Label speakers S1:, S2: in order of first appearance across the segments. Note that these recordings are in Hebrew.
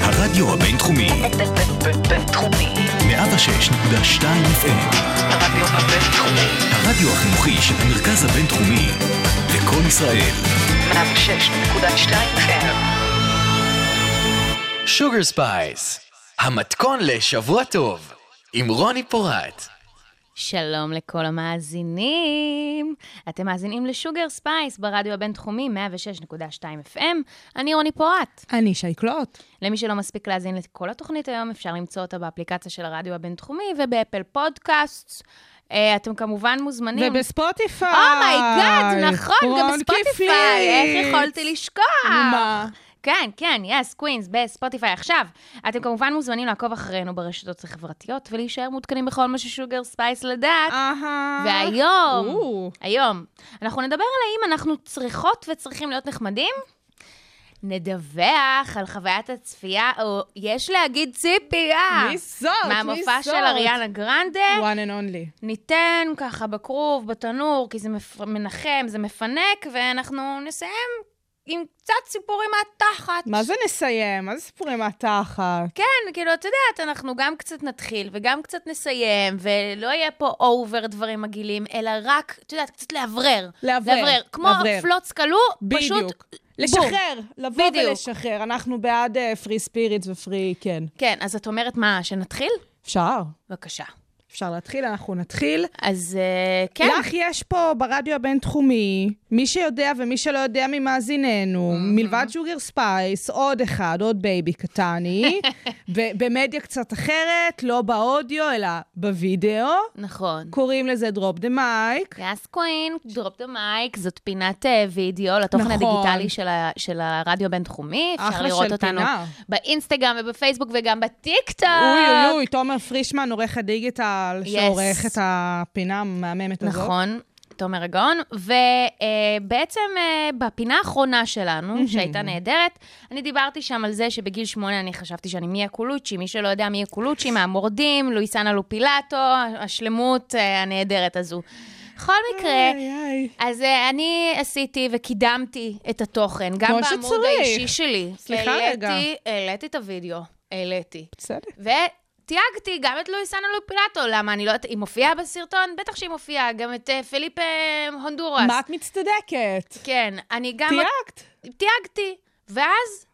S1: הרדיו הבינתחומי,
S2: בינתחומי.
S1: 106.2 FM,
S2: הרדיו הבינתחומי.
S1: הרדיו החינוכי של המרכז הבינתחומי, לקום ישראל,
S2: 106.2 FM.
S3: שוגר ספייס, המתכון לשבוע טוב, עם רוני פורט.
S4: שלום לכל המאזינים. אתם מאזינים לשוגר ספייס ברדיו הבינתחומי 106.2 FM. אני רוני פורט.
S5: אני שייקלוט.
S4: למי שלא מספיק להאזין לכל התוכנית היום, אפשר למצוא אותה באפליקציה של הרדיו הבינתחומי ובאפל פודקאסט. אה, אתם כמובן מוזמנים.
S5: ובספוטיפיי.
S4: אומייגאד, Oh נכון, גם
S5: רון כיפלי.
S4: בספוטיפיי. איך יכולתי לשכוח?
S5: נו מה?
S4: כן, כן, יס, קווינס, בספוטיפיי עכשיו. אתם כמובן מוזמנים לעקוב אחרינו ברשתות החברתיות ולהישאר מעודכנים בכל מה ששוגר ספייס לדעת.
S5: אהה.
S4: והיום,
S5: או.
S4: היום, אנחנו נדבר על האם אנחנו צריכות וצריכים להיות נחמדים. נדווח על חוויית הצפייה, או יש להגיד ציפייה.
S5: מי זאת?
S4: אה, מהמופע
S5: מי זאת?
S4: של אריאנה גרנדה.
S5: one and only.
S4: ניתן ככה בכרוב, בתנור, כי זה מפ... מנחם, זה מפנק, ואנחנו נסיים עם קצת סיפורים מהתחת.
S5: מה זה נסיים? מה זה סיפורי מהתחת?
S4: כן, כאילו, את יודעת, אנחנו גם קצת נתחיל וגם קצת נסיים, ולא יהיה פה אובר דברים מגעילים, אלא רק, את יודעת, קצת לאוורר.
S5: לאוורר,
S4: כמו
S5: לאוורר.
S4: פלוץ כלוא, פשוט...
S5: בדיוק. לשחרר, לבוא
S4: בדיוק.
S5: ולשחרר. אנחנו בעד אה, פרי ספיריטס ופרי, כן.
S4: כן, אז את אומרת מה, שנתחיל?
S5: אפשר?
S4: בבקשה.
S5: אפשר להתחיל, אנחנו נתחיל.
S4: אז אה, כן.
S5: כן. לך יש פה ברדיו הבינתחומי, מי שיודע ומי שלא יודע ממאזיננו, mm-hmm. מלבד שוגר ספייס, עוד אחד, עוד בייבי קטני, ב- במדיה קצת אחרת, לא באודיו, אלא בווידאו,
S4: נכון.
S5: קוראים לזה דרופ דה מייק.
S4: יאס קווין, דרופ דה מייק, זאת פינת אה, וידאו לתוכן
S5: נכון.
S4: הדיגיטלי של, ה, של הרדיו הבינתחומי. אפשר
S5: אחלה
S4: לראות
S5: של
S4: אותנו
S5: פינה.
S4: באינסטגרם ובפייסבוק וגם בטיקטוק.
S5: אוי אוי אוי, תומר פרישמן, עורך הדיגיטל,
S4: Yes.
S5: שעורך את הפינה המהממת הזאת.
S4: נכון, תומר הגאון. ובעצם אה, בפינה האחרונה שלנו, שהייתה נהדרת, אני דיברתי שם על זה שבגיל שמונה אני חשבתי שאני מיה קולוצ'י, מי שלא יודע מיה קולוצ'י, מהמורדים, לואיסנה לופילטו, השלמות אה, הנהדרת הזו. בכל מקרה,
S5: איי, איי.
S4: אז אה, אני עשיתי וקידמתי את התוכן, גם
S5: כמו
S4: בעמוד
S5: שצריך.
S4: האישי שלי.
S5: סליחה רגע.
S4: העליתי- העליתי את הוידאו, העליתי.
S5: בסדר.
S4: ותייגתי גם את לואיסנה לופילטו, למה אני לא יודעת, היא מופיעה בסרטון? בטח שהיא מופיעה, גם את אה, פליפ אה, הונדורס.
S5: מה את מצטדקת?
S4: כן, אני גם...
S5: תייגת.
S4: תייגתי. ואז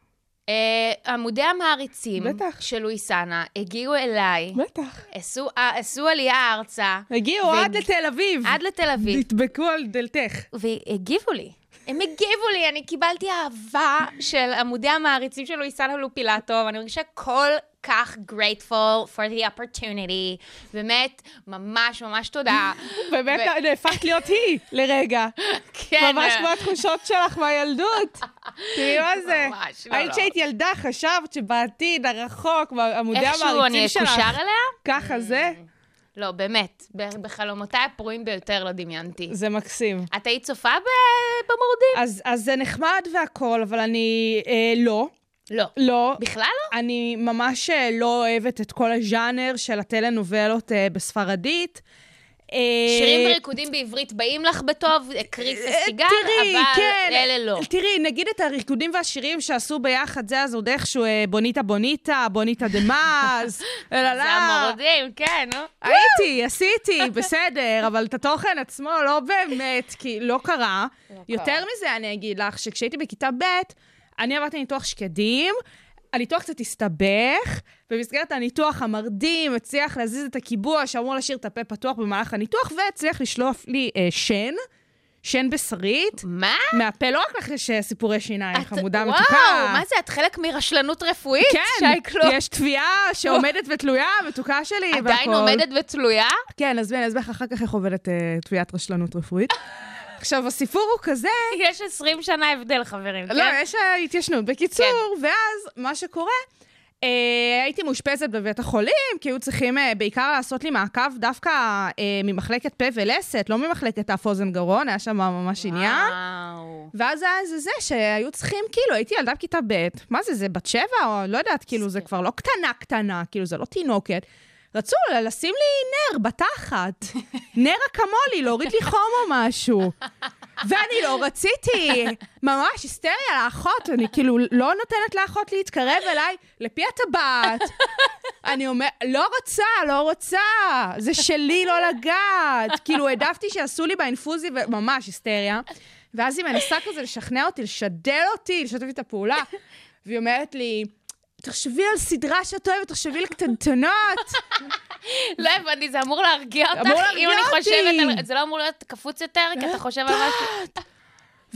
S4: אה, עמודי המעריצים
S5: בטח.
S4: של לואיסנה הגיעו אליי,
S5: בטח.
S4: עשו, אה, עשו עלייה ארצה.
S5: הגיעו
S4: והג-
S5: עד לתל אביב.
S4: עד לתל אביב.
S5: נדבקו על דלתך.
S4: והגיבו לי. הם הגיבו לי, אני קיבלתי אהבה של עמודי המעריצים של לואיסנה לופילטו, ואני מרגישה כל כך grateful for the opportunity. באמת, ממש ממש תודה.
S5: באמת
S4: ו-
S5: נהפכת להיות היא לרגע.
S4: כן.
S5: ממש כמו התחושות שלך מהילדות. תראי מה זה.
S4: ממש, לא,
S5: היית
S4: לא.
S5: כשהיית ילדה, חשבת שבעתיד הרחוק, בעמודי
S4: אה, איכשהו אני
S5: המעריצים שלך.
S4: אקושר אליה?
S5: ככה זה?
S4: לא, באמת, ב- בחלומותיי הפרועים ביותר לא דמיינתי.
S5: זה מקסים.
S4: את היית צופה ב- במורדים?
S5: אז אז זה נחמד והכול, אבל אני אה, לא.
S4: לא.
S5: לא.
S4: בכלל לא?
S5: אני ממש אה, לא אוהבת את כל הז'אנר של הטלנובלות אה, בספרדית. אה,
S4: שירים וריקודים בעברית באים לך בטוב, קריס הסיגל,
S5: אה, תראי,
S4: אה, אבל
S5: כן,
S4: אלה לא.
S5: תראי, נגיד את הריקודים והשירים שעשו ביחד, זה אז עוד איכשהו אה, בוניטה בוניטה, בוניטה דה מאז, אללה.
S4: זה המורדים, כן, נו.
S5: הייתי, עשיתי, בסדר, אבל את התוכן עצמו לא באמת, כי לא קרה. יותר מזה, אני אגיד לך, שכשהייתי בכיתה ב', אני עברתי ניתוח שקדים, הניתוח קצת הסתבך, במסגרת הניתוח המרדים הצליח להזיז את הקיבוע שאמור להשאיר את הפה פתוח במהלך הניתוח, והצליח לשלוף לי אה, שן, שן בשרית.
S4: מה?
S5: מהפה לא רק לך יש אה, סיפורי שיניים,
S4: את-
S5: חמודה
S4: וואו,
S5: מתוקה.
S4: מה זה, את חלק מרשלנות רפואית?
S5: כן,
S4: שייקלו?
S5: יש תביעה שעומדת ותלויה, מתוקה שלי, והכל.
S4: עדיין עומדת ותלויה?
S5: כן, אז אני אסביר לך אחר כך איך עובדת אה, תביעת רשלנות רפואית. עכשיו, הסיפור הוא כזה,
S4: יש 20 שנה הבדל, חברים,
S5: לא,
S4: כן?
S5: יש אה, התיישנות. בקיצור, ואז מה שקורה, אה, הייתי מאושפזת בבית החולים, כי היו צריכים אה, בעיקר לעשות לי מעקב דווקא אה, ממחלקת פה ולסת, לא ממחלקת אף אוזן גרון, היה שם ממש עניין.
S4: וואו.
S5: ואז היה איזה זה שהיו צריכים, כאילו, הייתי ילדה בכיתה ב', מה זה, זה בת שבע? או לא יודעת, כאילו, זה כבר לא קטנה-קטנה, כאילו, זה לא תינוקת. רצו לשים לי נר בתחת, נר אקמולי, להוריד לי חום או משהו. ואני לא רציתי, ממש היסטריה לאחות, אני כאילו לא נותנת לאחות להתקרב אליי, לפי הטבעת. אני אומרת, לא רוצה, לא רוצה, זה שלי לא לגעת. כאילו, העדפתי שעשו לי באינפוזי, וממש היסטריה. ואז היא מנסה כזה לשכנע אותי, לשדל אותי, לשתף לי את הפעולה. והיא אומרת לי, תחשבי על סדרה שאת אוהבת, תחשבי על קטנטנות.
S4: לא הבנתי, זה אמור להרגיע אותך?
S5: אמור
S4: אם
S5: להרגיע
S4: אני
S5: אותי. אה,
S4: חושבת על... זה לא אמור להיות קפוץ יותר, כי אתה חושב על משהו...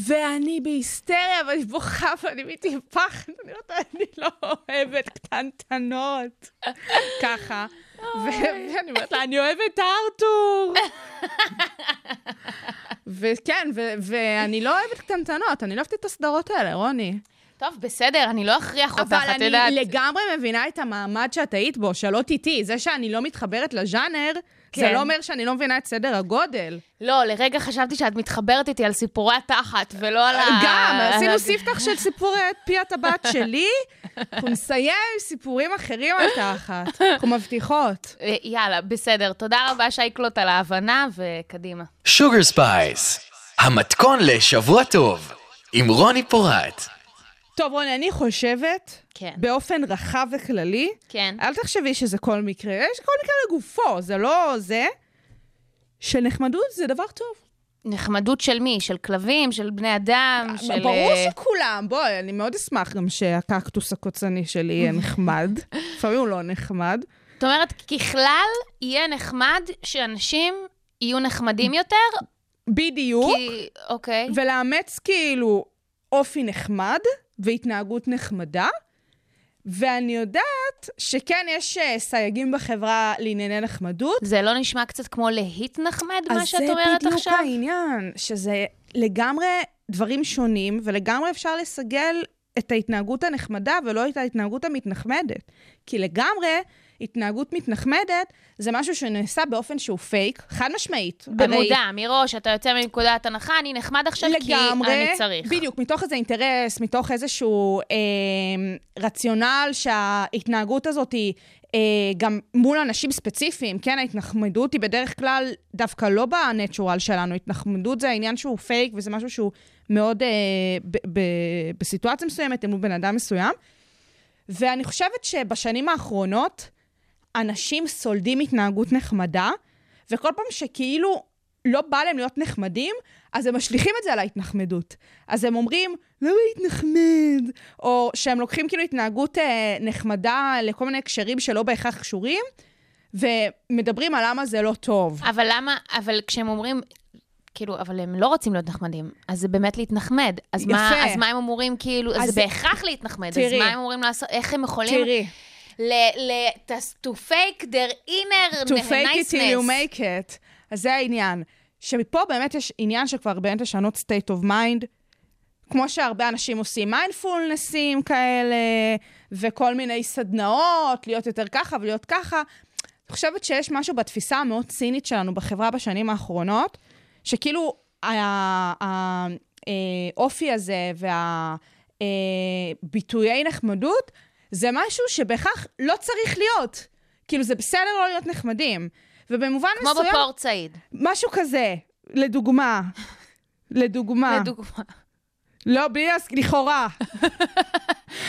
S5: ואני בהיסטריה, ואני בוכה, ואני מתייפחת, אני אומרת, אני לא אוהבת קטנטנות. ככה. ו- ואני אומרת לה, אני אוהבת ארתור. וכן, ו- ואני לא אוהבת קטנטנות, אני לא אוהבת את הסדרות האלה, רוני.
S4: טוב, בסדר, אני לא אכריח אותך,
S5: אבל
S4: את
S5: אני
S4: יודעת.
S5: לגמרי מבינה את המעמד שאת היית בו, שלא תיתי. זה שאני לא מתחברת לז'אנר, זה
S4: כן.
S5: לא אומר שאני לא מבינה את סדר הגודל.
S4: לא, לרגע חשבתי שאת מתחברת איתי על סיפורי התחת, ולא על ה...
S5: גם, עשינו
S4: על-
S5: ספתח של סיפור פי הטבעת שלי, אנחנו נסיים עם סיפורים אחרים על תחת. אנחנו מבטיחות.
S4: אה, יאללה, בסדר. תודה רבה, שייקלוט, על ההבנה, וקדימה.
S3: שוגר ספייס, המתכון לשבוע טוב, עם רוני פורט.
S5: טוב, רוני, אני חושבת,
S4: כן.
S5: באופן רחב וכללי,
S4: כן.
S5: אל תחשבי שזה כל מקרה, יש כל מקרה לגופו, זה לא זה, שנחמדות זה דבר טוב.
S4: נחמדות של מי? של כלבים? של בני אדם? של...
S5: ברור
S4: אה,
S5: שכולם, בואי, אני מאוד אשמח גם שהקקטוס הקוצני שלי יהיה נחמד. לפעמים הוא לא נחמד.
S4: זאת אומרת, ככלל, יהיה נחמד שאנשים יהיו נחמדים יותר,
S5: בדיוק.
S4: כי... אוקיי.
S5: ולאמץ כאילו אופי נחמד והתנהגות נחמדה. ואני יודעת שכן יש אה, סייגים בחברה לענייני נחמדות.
S4: זה לא נשמע קצת כמו להתנחמד, מה שאת אומרת
S5: אז זה
S4: עכשיו?
S5: בדיוק העניין, שזה לגמרי דברים שונים, ולגמרי אפשר לסגל את ההתנהגות הנחמדה ולא את ההתנהגות המתנחמדת. כי לגמרי, התנהגות מתנחמדת זה משהו שנעשה באופן שהוא פייק, חד משמעית. הרי-
S4: במודע, מראש, אתה יוצא מנקודת הנחה, אני נחמד עכשיו כי אני צריך.
S5: בדיוק, מתוך איזה אינטרס, מתוך איזשהו אה, רציונל שההתנהגות הזאת היא אה, גם מול אנשים ספציפיים, כן, ההתנחמדות היא בדרך כלל דווקא לא בנטשורל שלנו, התנחמדות זה העניין שהוא פייק וזה משהו שהוא מאוד, אה, ב- ב- בסיטואציה מסוימת, אל מול בן אדם מסוים. ואני חושבת שבשנים האחרונות אנשים סולדים התנהגות נחמדה, וכל פעם שכאילו לא בא להם להיות נחמדים, אז הם משליכים את זה על ההתנחמדות. אז הם אומרים, למה להתנחמד? או שהם לוקחים כאילו התנהגות אה, נחמדה לכל מיני הקשרים שלא בהכרח קשורים, ומדברים על למה זה לא טוב.
S4: אבל למה, אבל כשהם אומרים, כאילו, אבל הם לא רוצים להיות נחמדים, אז זה באמת להתנחמד. אז מה,
S5: יפה.
S4: אז מה הם אומרים, כאילו, אז
S5: אז-
S4: זה בהכרח להתנחמד, אז
S5: תראי.
S4: מה הם אמורים לעשות, איך הם יכולים...
S5: תראי,
S4: ל- ל- to- to fake their inner
S5: to fake it till you
S4: niceness.
S5: make it. אז זה העניין. שמפה באמת יש עניין שכבר באמת לשנות state of mind, כמו שהרבה אנשים עושים מיינדפולנסים כאלה, וכל מיני סדנאות, להיות יותר ככה ולהיות ככה. אני חושבת שיש משהו בתפיסה המאוד צינית שלנו בחברה בשנים האחרונות, שכאילו האופי אה, הזה והביטויי נחמדות, זה משהו שבהכרח לא צריך להיות. כאילו, זה בסדר לא להיות נחמדים. ובמובן
S4: כמו
S5: מסוים,
S4: בפורט סעיד,
S5: משהו כזה, לדוגמה. לדוגמה.
S4: לדוגמה.
S5: לא, בלי להס... לכאורה.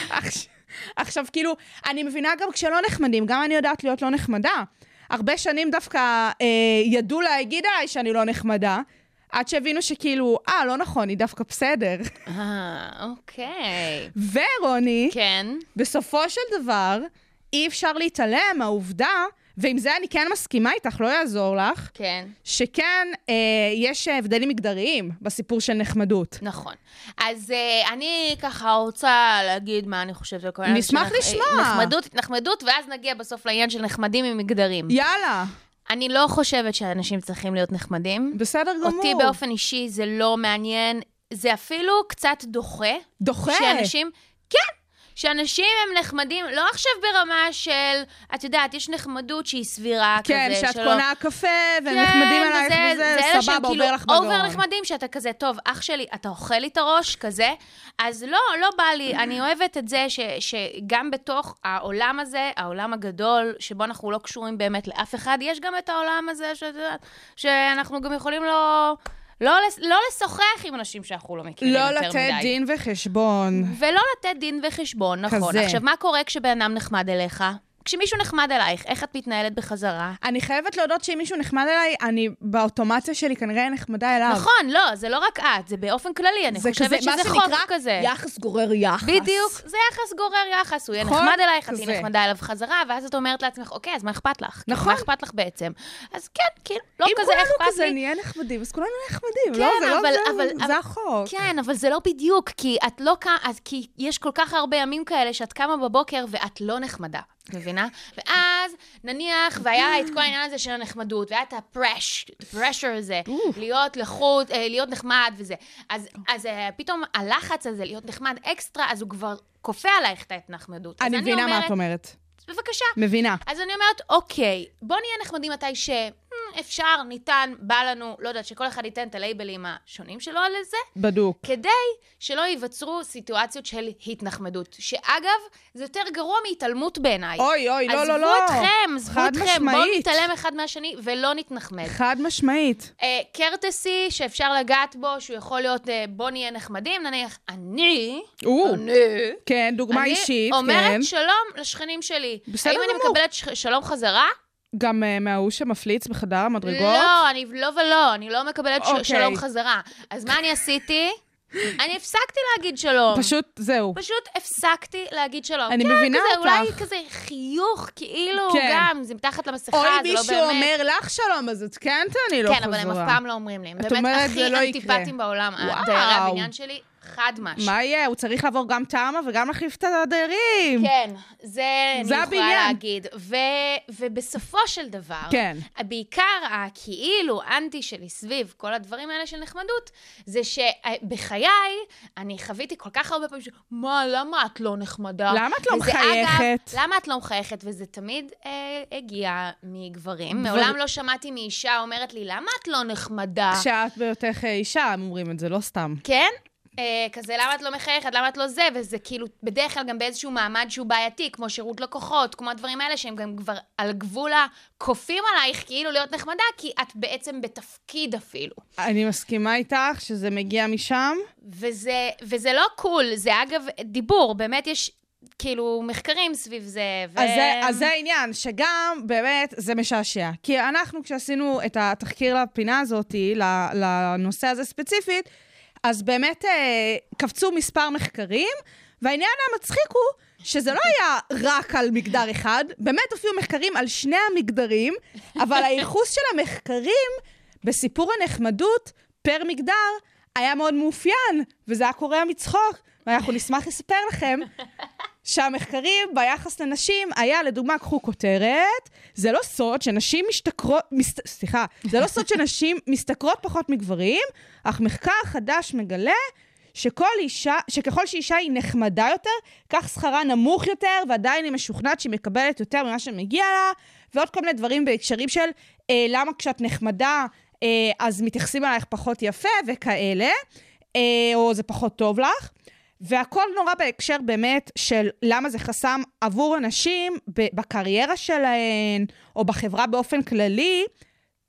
S5: עכש- עכשיו, כאילו, אני מבינה גם כשלא נחמדים, גם אני יודעת להיות לא נחמדה. הרבה שנים דווקא אה, ידעו להגיד עליי שאני לא נחמדה, עד שהבינו שכאילו, אה, לא נכון, היא דווקא בסדר.
S4: אה, אוקיי.
S5: ורוני,
S4: כן.
S5: בסופו של דבר, אי אפשר להתעלם מהעובדה, ועם זה אני כן מסכימה איתך, לא יעזור לך,
S4: כן,
S5: שכן אה, יש הבדלים מגדריים בסיפור של נחמדות.
S4: נכון. אז אה, אני ככה רוצה להגיד מה אני חושבת על כל העניין
S5: נשמח
S4: של נח-
S5: לשמוע.
S4: אה, נחמדות, התנחמדות, ואז נגיע בסוף לעניין של נחמדים עם מגדרים.
S5: יאללה,
S4: אני לא חושבת שאנשים צריכים להיות נחמדים.
S5: בסדר גמור.
S4: אותי באופן אישי זה לא מעניין, זה אפילו קצת דוחה.
S5: דוחה.
S4: שאנשים, כן, שאנשים הם נחמדים, לא עכשיו ברמה של, את יודעת, יש נחמדות שהיא סבירה
S5: כן,
S4: כזה,
S5: שאת
S4: שלא...
S5: קונה קפה, והם
S4: כן,
S5: נחמדים אלייך
S4: וזה- זה
S5: וזה,
S4: אלה שהם
S5: סבבה, עובר
S4: כאילו
S5: לך בגרון.
S4: אובר נחמדים, שאתה כזה, טוב, אח שלי, אתה אוכל לי את הראש, כזה. אז לא, לא בא לי. אני אוהבת את זה ש, שגם בתוך העולם הזה, העולם הגדול, שבו אנחנו לא קשורים באמת לאף אחד, יש גם את העולם הזה, שאת יודעת, שאנחנו גם יכולים לא... לא לס- לא לשוחח עם אנשים שאנחנו לא מכירים
S5: לא
S4: יותר מדי.
S5: לתת דין וחשבון.
S4: ולא לתת דין וחשבון, נכון.
S5: כזה.
S4: עכשיו, מה קורה כשבן אדם נחמד אליך? כשמישהו נחמד אלייך, איך את מתנהלת בחזרה?
S5: אני חייבת להודות שאם מישהו נחמד אליי, אני באוטומציה שלי כנראה נחמדה אליו.
S4: נכון, לא, זה לא רק את, זה באופן כללי, אני
S5: אה. זה
S4: חושבת
S5: כזה, מה
S4: שזה חוק
S5: שנקרא,
S4: כזה.
S5: יחס גורר יחס.
S4: בדיוק, זה יחס גורר יחס, הוא יהיה
S5: נכון,
S4: נחמד אלייך, את
S5: כזה.
S4: תהיי נחמדה אליו חזרה, ואז את אומרת לעצמך, אוקיי, אז מה אכפת לך? כאילו,
S5: נכון.
S4: מה אכפת לך בעצם? אז כן, כאילו, לא
S5: אם
S4: כזה
S5: כולנו
S4: אכפת
S5: כזה
S4: לי.
S5: נהיה נחמדים, אז כולנו נהיה נחמדים.
S4: כן,
S5: לא, זה לא
S4: אבל-
S5: זה,
S4: אבל- אבל-
S5: זה החוק.
S4: כן, אבל זה לא בדיוק, כי את לא קמה, כי יש כל כך הרבה ימים כאלה שאת קמה בבוקר ואת לא נחמדה, את מבינה? ואז, נניח, והיה לה את כל העניין הזה של הנחמדות, והיה את הפרשר הזה, להיות לחוץ, אה, להיות נחמד וזה. אז, אז אה, פתאום הלחץ הזה להיות נחמד אקסטרה, אז הוא כבר כופה עלייך את ההתנחמדות. אז
S5: אני מבינה מה את אומרת.
S4: בבקשה.
S5: מבינה.
S4: אז אני אומרת, אוקיי, בוא נהיה נחמדים מתי ש... "מ, אפשר, ניתן, בא לנו, לא יודעת, שכל אחד ייתן את הלייבלים השונים שלו על זה,
S5: בדוק.
S4: כדי שלא ייווצרו סיטואציות של התנחמדות. שאגב, זה יותר גרוע מהתעלמות בעיניי.
S5: אוי, אוי, לא, לא, לא.
S4: עזבו אתכם, עזבו
S5: חד
S4: אתכם, בואו
S5: משמעית.
S4: נתעלם אחד מהשני ולא נתנחמד.
S5: חד משמעית.
S4: אה, קרטסי שאפשר לגעת בו, שהוא יכול להיות אה, בוא נהיה נחמדים, נניח אני,
S5: או,
S4: אני,
S5: כן, דוגמה
S4: אה, אני
S5: אישית, כן.
S4: אומרת שלום לשכנים שלי.
S5: בסדר
S4: האם אני
S5: גמור.
S4: מקבלת ש- שלום חזרה?
S5: גם אה, מההוא שמפליץ בחדר המדרגות?
S4: לא, אני לא ולא, אני לא מקבלת
S5: אוקיי.
S4: ש- שלום חזרה. אז מה אני עשיתי? אני הפסקתי להגיד שלום.
S5: פשוט, זהו.
S4: פשוט הפסקתי להגיד שלום.
S5: אני
S4: כן,
S5: מבינה
S4: כזה,
S5: אותך.
S4: אולי כזה חיוך, כאילו,
S5: כן.
S4: גם, זה מתחת למסכה,
S5: אוי,
S4: זה לא
S5: מישהו
S4: באמת.
S5: אומר לך שלום, אז את כן תעני לו
S4: כן,
S5: חזרה.
S4: אבל הם אף פעם לא אומרים לי. הם
S5: את
S4: באמת
S5: אומרת, זה
S4: הכי
S5: לא יקרה.
S4: אנטיפטים בעולם, אה,
S5: וואו.
S4: דיירי הבניין שלי, חד משהו.
S5: מה יהיה? הוא צריך לעבור גם תמה וגם להחליף את הדיירים.
S4: כן, זה אני
S5: זה
S4: יכולה
S5: הבניין.
S4: להגיד. ו- ובסופו של דבר,
S5: כן.
S4: בעיקר הכאילו אנטי שלי סביב כל הדברים האלה של נחמדות, זה שבחיי אני חוויתי כל כך הרבה פעמים, ש- מה, למה את לא נחמדה?
S5: למה את לא
S4: וזה,
S5: מחייכת?
S4: אגב, למה את לא מחייכת? וזה תמיד אה, הגיע מגברים.
S5: דבר-
S4: מעולם לא שמעתי מאישה אומרת לי, למה את לא נחמדה?
S5: כשאת בהיותך אה, אישה, הם אומרים את זה, לא סתם.
S4: כן? אה, כזה, למה את לא מחייכת? למה את לא זה? וזה כאילו, בדרך כלל גם באיזשהו מעמד שהוא בעייתי, כמו שירות לקוחות, כמו הדברים האלה, שהם גם כבר על גבול הכופים עלייך, כאילו להיות נחמדה, כי את בעצם בתפקיד אפילו.
S5: אני מסכימה איתך שזה מגיע משם.
S4: וזה, וזה לא קול, זה אגב דיבור, באמת יש כאילו מחקרים סביב זה. ו...
S5: אז זה- אז זה העניין, שגם באמת זה משעשע. כי אנחנו, כשעשינו את התחקיר לפינה הזאת, ל- לנושא הזה ספציפית, אז באמת אה, קפצו מספר מחקרים, והעניין המצחיק הוא שזה לא היה רק על מגדר אחד, באמת הופיעו מחקרים על שני המגדרים, אבל הייחוס של המחקרים בסיפור הנחמדות פר מגדר היה מאוד מאופיין, וזה היה קורע מצחוק, ואנחנו נשמח לספר לכם שהמחקרים ביחס לנשים היה, לדוגמה, קחו כותרת, זה לא סוד שנשים משתכרות, מס, סליחה, זה לא סוד שנשים משתכרות פחות מגברים, אך מחקר חדש מגלה שכל אישה, שככל שאישה היא נחמדה יותר, כך שכרה נמוך יותר, ועדיין היא משוכנעת שהיא מקבלת יותר ממה שמגיע לה, ועוד כל מיני דברים בהקשרים של אה, למה כשאת נחמדה אה, אז מתייחסים אלייך פחות יפה וכאלה, אה, או זה פחות טוב לך. והכל נורא בהקשר באמת של למה זה חסם עבור אנשים ב- בקריירה שלהן, או בחברה באופן כללי.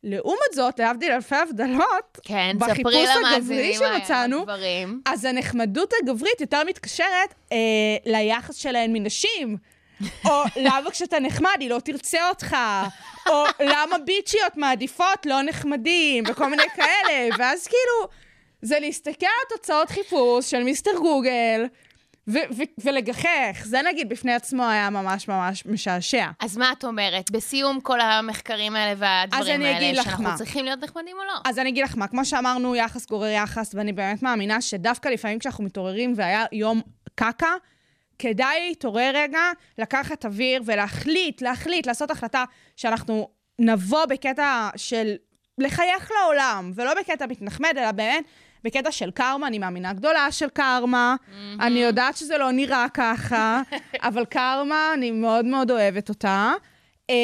S5: לעומת זאת, להבדיל אלפי הבדלות,
S4: כן, ספרי
S5: בחיפוש הגברי
S4: למאזינים
S5: שמצאנו,
S4: הדברים.
S5: אז הנחמדות הגברית יותר מתקשרת אה, ליחס שלהן מנשים. או למה כשאתה נחמד היא לא תרצה אותך, או למה ביצ'יות מעדיפות לא נחמדים, וכל מיני כאלה, ואז כאילו, זה להסתכל על תוצאות חיפוש של מיסטר גוגל, ו- ו- ולגחך, זה נגיד בפני עצמו היה ממש ממש משעשע.
S4: אז מה את אומרת? בסיום כל המחקרים האלה והדברים
S5: אני אגיד
S4: האלה,
S5: לך
S4: שאנחנו
S5: מה.
S4: צריכים להיות נחמדים או לא?
S5: אז אני אגיד לך מה, כמו שאמרנו, יחס גורר יחס, ואני באמת מאמינה שדווקא לפעמים כשאנחנו מתעוררים והיה יום קקה, כדאי להתעורר רגע, לקחת אוויר ולהחליט, להחליט, לעשות החלטה שאנחנו נבוא בקטע של לחייך לעולם, ולא בקטע מתנחמד, אלא באמת בקטע של קרמה, אני מאמינה גדולה של קרמה. אני יודעת שזה לא נראה ככה, אבל קרמה, אני מאוד מאוד אוהבת אותה. אמ,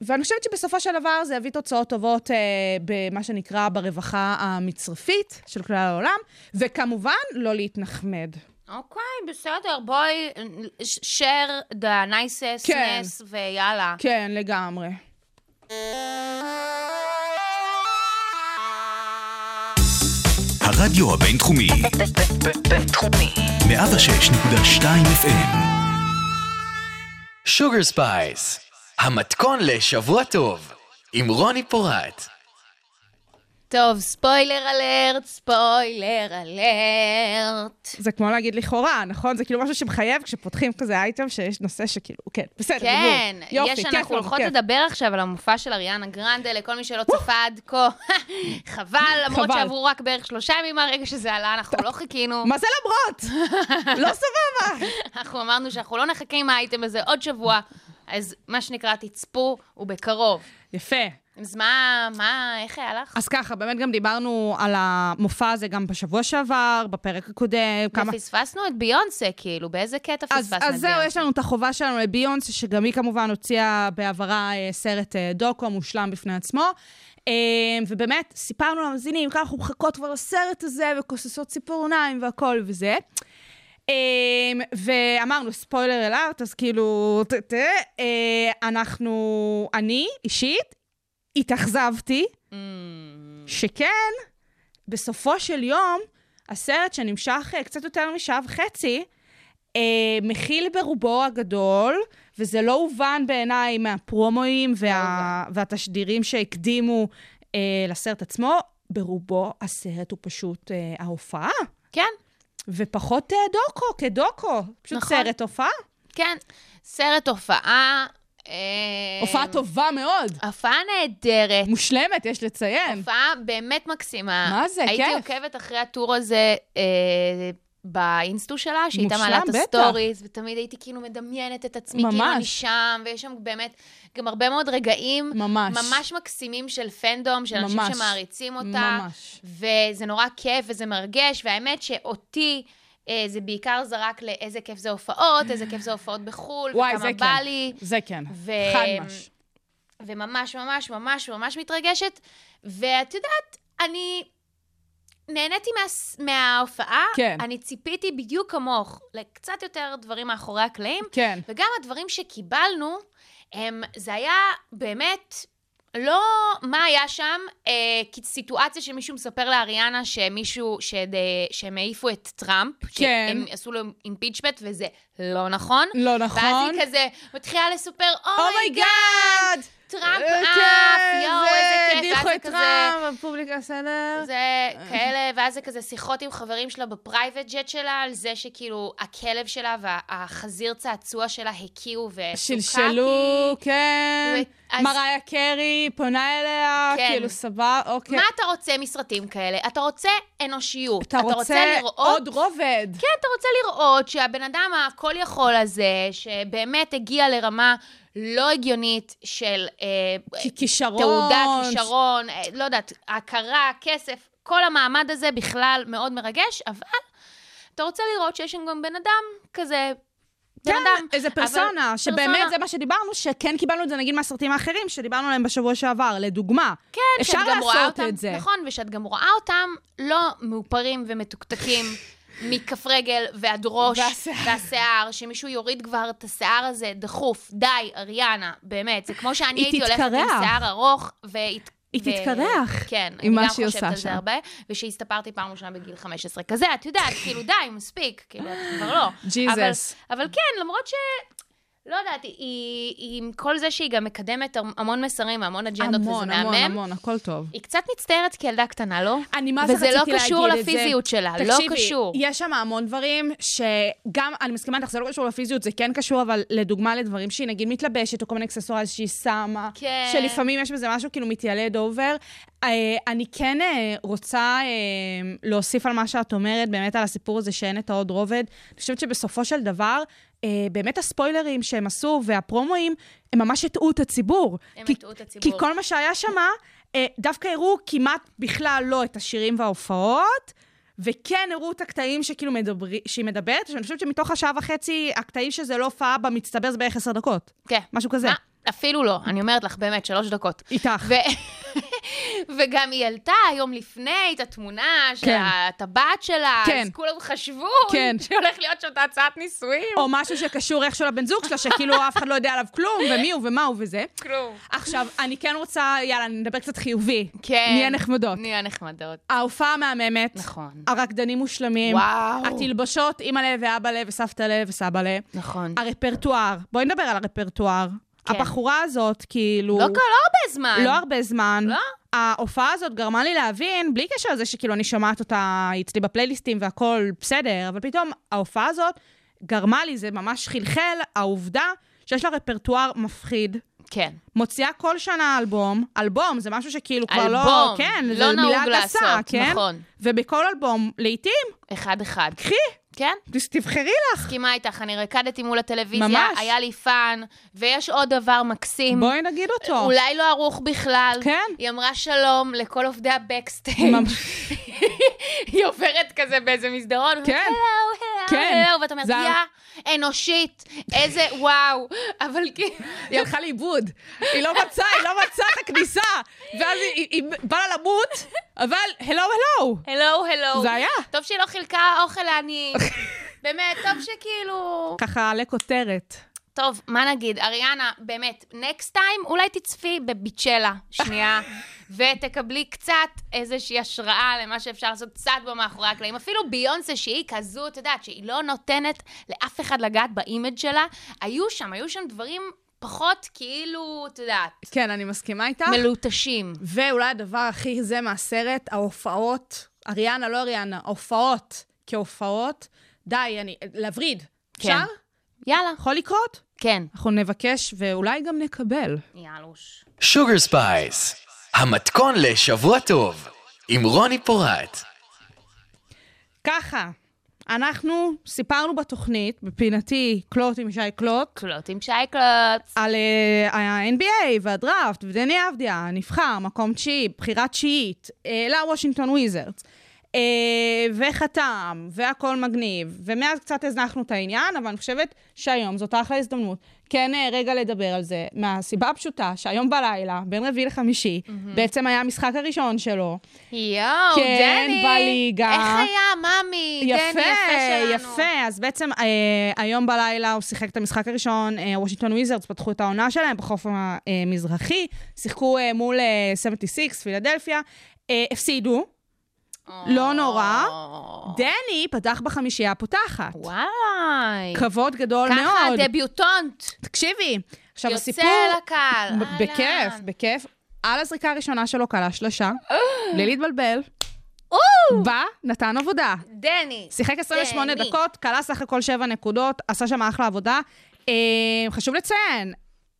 S5: ואני חושבת שבסופו של דבר זה יביא תוצאות טובות אה, במה שנקרא ברווחה המצרפית של כלל העולם, וכמובן, לא להתנחמד.
S4: אוקיי, בסדר, בואי, אה, ש- share the nicest
S5: כן.
S4: ness ויאללה.
S5: כן, לגמרי.
S1: הרדיו הבינתחומי,
S2: בינתחומי.
S1: 106.2 FM,
S3: שוגר ספייס, המתכון לשבוע טוב, עם רוני פורט.
S4: טוב, ספוילר אלרט, ספוילר אלרט.
S5: זה כמו להגיד לכאורה, נכון? זה כאילו משהו שמחייב כשפותחים כזה אייטם שיש נושא שכאילו, כן, בסדר,
S4: כן,
S5: גמור. יופי,
S4: יש,
S5: כיף
S4: אנחנו
S5: לנו,
S4: הולכות
S5: כיף.
S4: לדבר עכשיו על המופע של אריאנה גרנדה, לכל מי שלא צפה עד כה. חבל, למרות
S5: חבל.
S4: שעברו רק בערך שלושה ימים מהרגע שזה עלה, אנחנו לא חיכינו.
S5: מה זה למרות? לא סבבה.
S4: אנחנו אמרנו שאנחנו לא נחכה עם האייטם הזה עוד שבוע, אז מה שנקרא, תצפו, ובקרוב.
S5: יפה.
S4: אז מה, מה, איך היה לך?
S5: אז ככה, באמת גם דיברנו על המופע הזה גם בשבוע שעבר, בפרק הקודם, כמה...
S4: פספסנו את ביונסה, כאילו, באיזה קטע
S5: אז,
S4: פספסנו את ביונסה?
S5: אז זהו, יש לנו את החובה שלנו לביונס, שגם היא כמובן הוציאה בעברה אה, סרט אה, דוקו מושלם בפני עצמו. אה, ובאמת, סיפרנו למאזינים כמה אנחנו מחכות כבר לסרט הזה, וכוססות ציפורניים והכל וזה. אה, ואמרנו, ספוילר אלארט, אז כאילו, ת, ת, אה, אנחנו, אני אישית, התאכזבתי
S4: Mm,
S5: שכן, בסופו של יום, הסרט שנמשך אה, קצת יותר משעה וחצי, אה, מכיל ברובו הגדול, וזה לא הובן בעיניי מהפרומואים וה,
S4: לא
S5: והתשדירים שהקדימו אה, לסרט עצמו, ברובו הסרט הוא פשוט אה, ההופעה,
S4: כן,
S5: ופחות אה, דוקו, כדוקו. פשוט
S4: נכון.
S5: נכון. סרט הופעה.
S4: כן. סרט הופעה... אה,
S5: הופעה טובה מאוד.
S4: הופעה נהדרת.
S5: מושלמת, יש לציין.
S4: הופעה באמת מקסימה.
S5: מה זה,
S4: הייתי
S5: כיף.
S4: עוקבת אחרי הטור הזה אה, באינסטו שלה, שהיא הייתה
S5: מושלם,
S4: מעלה את
S5: בטח.
S4: הסטוריז, ותמיד הייתי כאילו מדמיינת את עצמי, כאילו
S5: ממש.
S4: אני שם, ויש שם באמת גם הרבה מאוד רגעים
S5: ממש.
S4: ממש מקסימים של פנדום, של אנשים
S5: ממש.
S4: שמעריצים אותה.
S5: ממש.
S4: וזה נורא כיף וזה מרגש, והאמת שאותי... אה, זה בעיקר זרק לאיזה כיף זה הופעות, איזה כיף זה הופעות בחו"ל,
S5: וואי,
S4: וכמה
S5: זה
S4: בא
S5: כן.
S4: לי.
S5: זה כן.
S4: ו-
S5: חד מש.
S4: וממש ממש ממש ממש מתרגשת. ואת יודעת, אני נהניתי מה... מההופעה.
S5: כן.
S4: אני ציפיתי בדיוק כמוך לקצת יותר דברים מאחורי הקלעים,
S5: כן.
S4: וגם הדברים שקיבלנו, הם, זה היה באמת... לא מה היה שם, אה, כי סיטואציה שמישהו מספר לאריאנה שמישהו, שד, אה, שהם העיפו את טראמפ,
S5: כן.
S4: שהם עשו לו אימפיצ'מנט וזה לא נכון.
S5: לא נכון. Oh
S4: ואז היא כזה "Oh מתחילה לספר, אומייגאד,
S5: אומייגאד!
S4: טראמפ
S5: אה,
S4: עף, יואו,
S5: זה,
S4: איזה כיף,
S5: הדיחו
S4: ואז
S5: את
S4: זה כזה...
S5: טראמפ, הפובליקה בסדר.
S4: זה כאלה, ואז זה כזה שיחות עם חברים שלה בפרייבט ג'ט שלה, על זה שכאילו הכלב שלה והחזיר צעצוע שלה הכירו וסוכתי.
S5: שלשלו, כן.
S4: ו- אז-
S5: מריה קרי פונה אליה,
S4: כן.
S5: כאילו סבבה, אוקיי.
S4: מה אתה רוצה מסרטים כאלה? אתה רוצה אנושיות.
S5: אתה רוצה
S4: לראות...
S5: עוד רובד.
S4: כן, אתה רוצה לראות שהבן אדם הכל יכול הזה, שבאמת הגיע לרמה לא הגיונית של... אה,
S5: כי- כישרון.
S4: תעודה, כישרון, אה, לא יודעת, הכרה, כסף, כל המעמד הזה בכלל מאוד מרגש, אבל אתה רוצה לראות שיש שם גם בן אדם כזה, בן
S5: כן,
S4: אדם.
S5: איזה
S4: אבל-
S5: פרסונה, שבאמת
S4: פרסונה.
S5: זה מה שדיברנו, שכן קיבלנו את זה נגיד מהסרטים האחרים שדיברנו עליהם בשבוע שעבר, לדוגמה.
S4: כן,
S5: אפשר
S4: שאת גם רואה
S5: לעשות
S4: אותם,
S5: את זה.
S4: נכון, ושאת גם רואה אותם לא מאופרים ומתוקתקים מכף רגל ועד ראש
S5: והשיער.
S4: והשיער, שמישהו יוריד כבר את השיער הזה דחוף, די, אריאנה, באמת, זה כמו שאני
S5: היא
S4: הייתי הולכת עם
S5: תתקרח.
S4: שיער ארוך, והת...
S5: היא
S4: ו-
S5: תתקרח
S4: כן,
S5: עם
S4: אני
S5: מה
S4: גם
S5: שהיא
S4: חושבת
S5: עושה
S4: על זה
S5: שם.
S4: הרבה, ושהסתפרתי פעם ראשונה בגיל 15 כזה, את יודעת, כאילו די, מספיק, כאילו, את כבר לא.
S5: ג'יזוס.
S4: אבל, אבל כן, למרות ש... לא יודעת, היא, היא, היא עם כל זה שהיא גם מקדמת המון מסרים, המון אג'נדות, וזה
S5: המון,
S4: מהמם.
S5: המון, המון, הכל טוב.
S4: היא קצת מצטערת כילדה קטנה, לא?
S5: אני מה זה
S4: וזה
S5: רציתי
S4: לא
S5: להגיד את זה.
S4: קשור לפיזיות שלה, לא קשור.
S5: תקשיבי, יש שם המון דברים שגם, אני מסכימה איתך, זה לא קשור לפיזיות, זה כן קשור, אבל לדוגמה לדברים שהיא נגיד מתלבשת, או כל מיני אקססואז שהיא שמה,
S4: כן.
S5: שלפעמים יש בזה משהו כאילו מתיילד אובר. אה, אני כן אה, רוצה אה, להוסיף על מה שאת אומרת, באמת על הסיפור הזה שאין את העוד רובד. אני חושבת שבסופו של דבר, אה, באמת הספוילרים שהם עשו והפרומואים, הם ממש הטעו את הציבור.
S4: הם
S5: כי-
S4: הטעו את הציבור.
S5: כי כל מה שהיה שם, אה, דווקא הראו כמעט בכלל לא את השירים וההופעות, וכן הראו את הקטעים שכאילו מדברי, שהיא מדברת, שאני חושבת שמתוך השעה וחצי, הקטעים שזה לא הופעה במצטבר זה בערך עשר דקות.
S4: כן.
S5: משהו כזה.
S4: מה? אפילו לא, אני אומרת לך, באמת, שלוש דקות.
S5: איתך.
S4: ו... וגם היא העלתה היום לפני את התמונה של
S5: כן.
S4: הטבעת שלה,
S5: כן.
S4: אז כולם חשבו
S5: כן.
S4: שהולך להיות שם את הצעת נישואים.
S5: או משהו שקשור איכשהו לבן זוג שלה, שכאילו אף אחד לא יודע עליו כלום, ומי הוא ומה הוא וזה.
S4: כלום.
S5: עכשיו, אני כן רוצה, יאללה, נדבר קצת חיובי.
S4: כן.
S5: נהיה נחמדות.
S4: נהיה נחמדות.
S5: ההופעה מהממת.
S4: נכון.
S5: הרקדנים מושלמים.
S4: וואו.
S5: התלבשות, אימא'לה ואבא'לה וסבתא'לה וסבא'לה.
S4: נכון.
S5: הרפרטואר, בואי נדבר על הרפרטואר.
S4: כן.
S5: הבחורה הזאת, כאילו...
S4: לא קרה, לא הרבה זמן.
S5: לא הרבה זמן.
S4: לא?
S5: ההופעה הזאת גרמה לי להבין, בלי קשר לזה שכאילו אני שומעת אותה היא אצלי בפלייליסטים והכל בסדר, אבל פתאום ההופעה הזאת גרמה לי, זה ממש חלחל, העובדה שיש לה רפרטואר מפחיד.
S4: כן.
S5: מוציאה כל שנה אלבום, אלבום זה משהו שכאילו כבר לא...
S4: אלבום,
S5: כן,
S4: לא
S5: זה מילה
S4: נהוג
S5: גסה,
S4: לעשות,
S5: כן?
S4: נכון.
S5: ובכל אלבום, לעתים,
S4: אחד-אחד.
S5: קחי,
S4: כן?
S5: תבחרי לך.
S4: מסכימה איתך, אני רקדתי מול הטלוויזיה,
S5: ממש.
S4: היה לי פאן, ויש עוד דבר מקסים.
S5: בואי נגיד אותו.
S4: אולי לא ערוך בכלל.
S5: כן.
S4: היא אמרה שלום לכל עובדי הבקסטייג'.
S5: ממש.
S4: היא עוברת כזה באיזה מסדרון.
S5: כן.
S4: הלו, הלו,
S5: כן.
S4: הלו, ואת אומרת,
S5: זה ה-
S4: יא, אנושית, איזה וואו. אבל כאילו...
S5: היא הלכה לאיבוד. היא לא מצאה, היא לא מצאה את הכניסה. ואז היא- היא היא באה לה למות, אבל הלו, הלו.
S4: הלו, הלו.
S5: זה היה.
S4: טוב שהיא לא חילקה אוכל לעניים. באמת, טוב שכאילו...
S5: ככה לכותרת.
S4: טוב, מה נגיד? אריאנה, באמת, נקסט טיים אולי תצפי בביצ'לה שנייה, ותקבלי קצת איזושהי השראה למה שאפשר לעשות קצת במאחורי הקלעים. אפילו ביונסה, שהיא כזו, את יודעת, שהיא לא נותנת לאף אחד לגעת באימג' שלה, היו שם, היו שם דברים פחות כאילו, את יודעת,
S5: כן, אני מסכימה איתך.
S4: אה. מלוטשים.
S5: ואולי הדבר הכי זה מהסרט, ההופעות. אריאנה, לא אריאנה, ההופעות כהופעות. די, אני... לווריד.
S4: כן.
S5: אפשר?
S4: יאללה.
S5: יכול לקרות?
S4: כן.
S5: אנחנו נבקש ואולי גם נקבל.
S4: יאלוש.
S3: שוגר ספייס, המתכון לשבוע טוב, עם רוני פורט.
S5: ככה, אנחנו סיפרנו בתוכנית, בפינתי קלוט עם שי קלוט,
S4: קלוט עם שייקלוט.
S5: על אה, ה-NBA והדראפט, ודני אבדיה, נבחר, מקום תשיעי, בחירה תשיעית, העלה וושינגטון וויזרדס, אה, וחתם, והכל מגניב, ומאז קצת הזנחנו את העניין, אבל אני חושבת שהיום זאת אחלה הזדמנות. כן, אה, רגע לדבר על זה, מהסיבה הפשוטה שהיום בלילה, בין רביעי לחמישי, בעצם היה המשחק הראשון שלו.
S4: יואו,
S5: כן,
S4: דני.
S5: בליגה.
S4: איך היה, ממי? דני, כן, יפה שלנו.
S5: כן, יפה. אז בעצם אה, היום בלילה הוא שיחק את המשחק הראשון, אה, וושינגטון וויזרדס פתחו את העונה שלהם בחוף המזרחי, שיחקו אה, מול אה, 76, פילדלפיה, אה, הפסידו,
S4: אה.
S5: לא נורא. דני פתח בחמישייה הפותחת.
S4: וואי.
S5: כבוד גדול
S4: ככה
S5: מאוד.
S4: הדביוטונט
S5: תקשיבי, עכשיו
S4: יוצא
S5: הסיפור...
S4: לקהל.
S5: ב-
S4: אהלן.
S5: בכיף, בכיף. על הזריקה הראשונה שלו כלה שלושה, בלי להתבלבל. בא, נתן עבודה.
S4: דני.
S5: שיחק 28
S4: דני.
S5: דקות, כלה סך הכל 7 נקודות, עשה שם אחלה עבודה. אה, חשוב לציין,